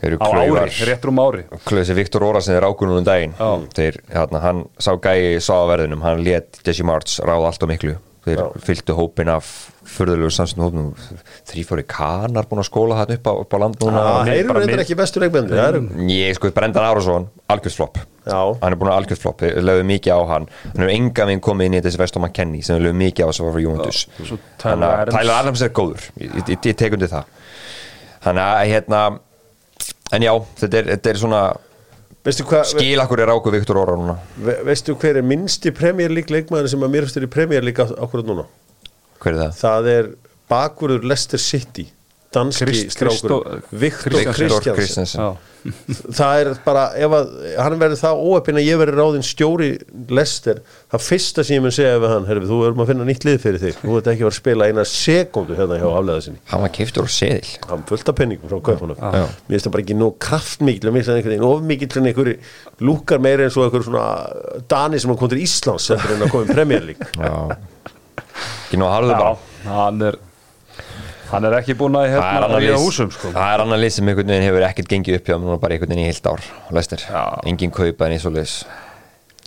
[SPEAKER 2] Eru
[SPEAKER 3] á ári,
[SPEAKER 2] klaufar.
[SPEAKER 3] rétt rúm ári
[SPEAKER 2] Klausi Viktor Óra sem er ákunum um daginn Þeir, hérna, hann sá gæi sá að verðinum, hann let Jesse March ráða allt og miklu, þeir
[SPEAKER 1] Já.
[SPEAKER 2] fylgdu hópin af furðulegu samstundu hópin þrýfóri kanar búin að skóla þarna upp á, upp á land núna
[SPEAKER 1] Það
[SPEAKER 3] minn-
[SPEAKER 1] eru
[SPEAKER 3] bara
[SPEAKER 1] Ah, reyndar
[SPEAKER 3] minn-
[SPEAKER 1] ekki bestu Mm. leikmenn Það eru
[SPEAKER 2] Ég sko, Brendan Árásson, algjörðsflopp
[SPEAKER 1] Já.
[SPEAKER 2] Hann er búin að algjörðsflopp, við lögum mikið á hann Hann hefur enga veginn komið inn í þessi vestum hann kenni sem við lögum mikið á sem var frá Juventus
[SPEAKER 3] Svo Tyler
[SPEAKER 2] Þannig að
[SPEAKER 3] Adams.
[SPEAKER 2] Tyler Adams er góður Ég, ég, ég tek undir það Þannig að hérna En já, þetta er, þetta er svona
[SPEAKER 1] Veistu, hva, ve,
[SPEAKER 2] Skil akkur er ákuð Viktor Óra núna
[SPEAKER 1] ve, veistu hver er minnsti Premier League leikmæður sem að mér fyrstur í Premier League akkurat núna?
[SPEAKER 2] Hver er það?
[SPEAKER 1] Það er bakvörður Leicester City Danski
[SPEAKER 3] Krist-
[SPEAKER 1] strákur
[SPEAKER 3] Kristó-
[SPEAKER 1] Viktor
[SPEAKER 3] Viktor
[SPEAKER 1] Kristjánsson
[SPEAKER 2] Kristjánsson
[SPEAKER 3] Já,
[SPEAKER 1] Það er bara, ef að hann verður það óöppin að ég verður ráðinn stjóri Leicester, það fyrsta sem ég mun segja við hann, herfi, þú erum að finna nýtt lið fyrir þig þú ert ekki að vera að spila eina sekundu hérna hjá afleða sinni,
[SPEAKER 2] Hann var keiftur og seðil
[SPEAKER 1] hann fullt af penningum frá kaupunum
[SPEAKER 2] Já.
[SPEAKER 1] mér finnst það bara ekki nú kraftmikil mér finnst það einhvern veginn ofmikil en einhverju lúkar meira eins og einhverju svona Dani sem hann kom til Íslands sem er að koma í Premier League
[SPEAKER 2] Já Ekki nú að harðu
[SPEAKER 3] já
[SPEAKER 2] bara
[SPEAKER 3] hann er hann er ekki búin að
[SPEAKER 2] Það er
[SPEAKER 3] hérna
[SPEAKER 2] annar
[SPEAKER 3] ríða
[SPEAKER 2] lið-
[SPEAKER 3] húsum sko
[SPEAKER 2] það er annar lið sem einhvern veginn hefur ekkert gengið upp hjá núna bara einhvern veginn í heilt ár Lester,
[SPEAKER 3] Já.
[SPEAKER 2] engin kaupa en eins og leis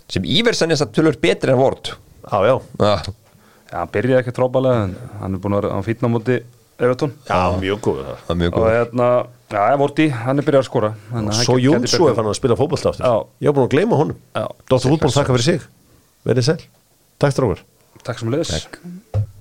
[SPEAKER 2] sem Íversen er satt tölur betri en Ward
[SPEAKER 1] Já, já,
[SPEAKER 2] Já,
[SPEAKER 3] Já, hann byrjaði ekki trópalega en hann er búin að vera hann fýtna á móti Evertón
[SPEAKER 1] já mjög góð það
[SPEAKER 2] það er mjög
[SPEAKER 3] og
[SPEAKER 2] góð
[SPEAKER 3] hérna, já, ég vorti, hann er byrjað að skora þannig að hann
[SPEAKER 1] Svo
[SPEAKER 3] gæti- gæti
[SPEAKER 1] Jónsó er
[SPEAKER 3] bjargað.
[SPEAKER 1] fann að spila fótballta aftur
[SPEAKER 3] Já.
[SPEAKER 1] Ég var búin að gleyma honum
[SPEAKER 3] Já.
[SPEAKER 1] Dóttur fútból þakka fyrir sig Verið sæl Takk strókar
[SPEAKER 3] Takk sem leiðis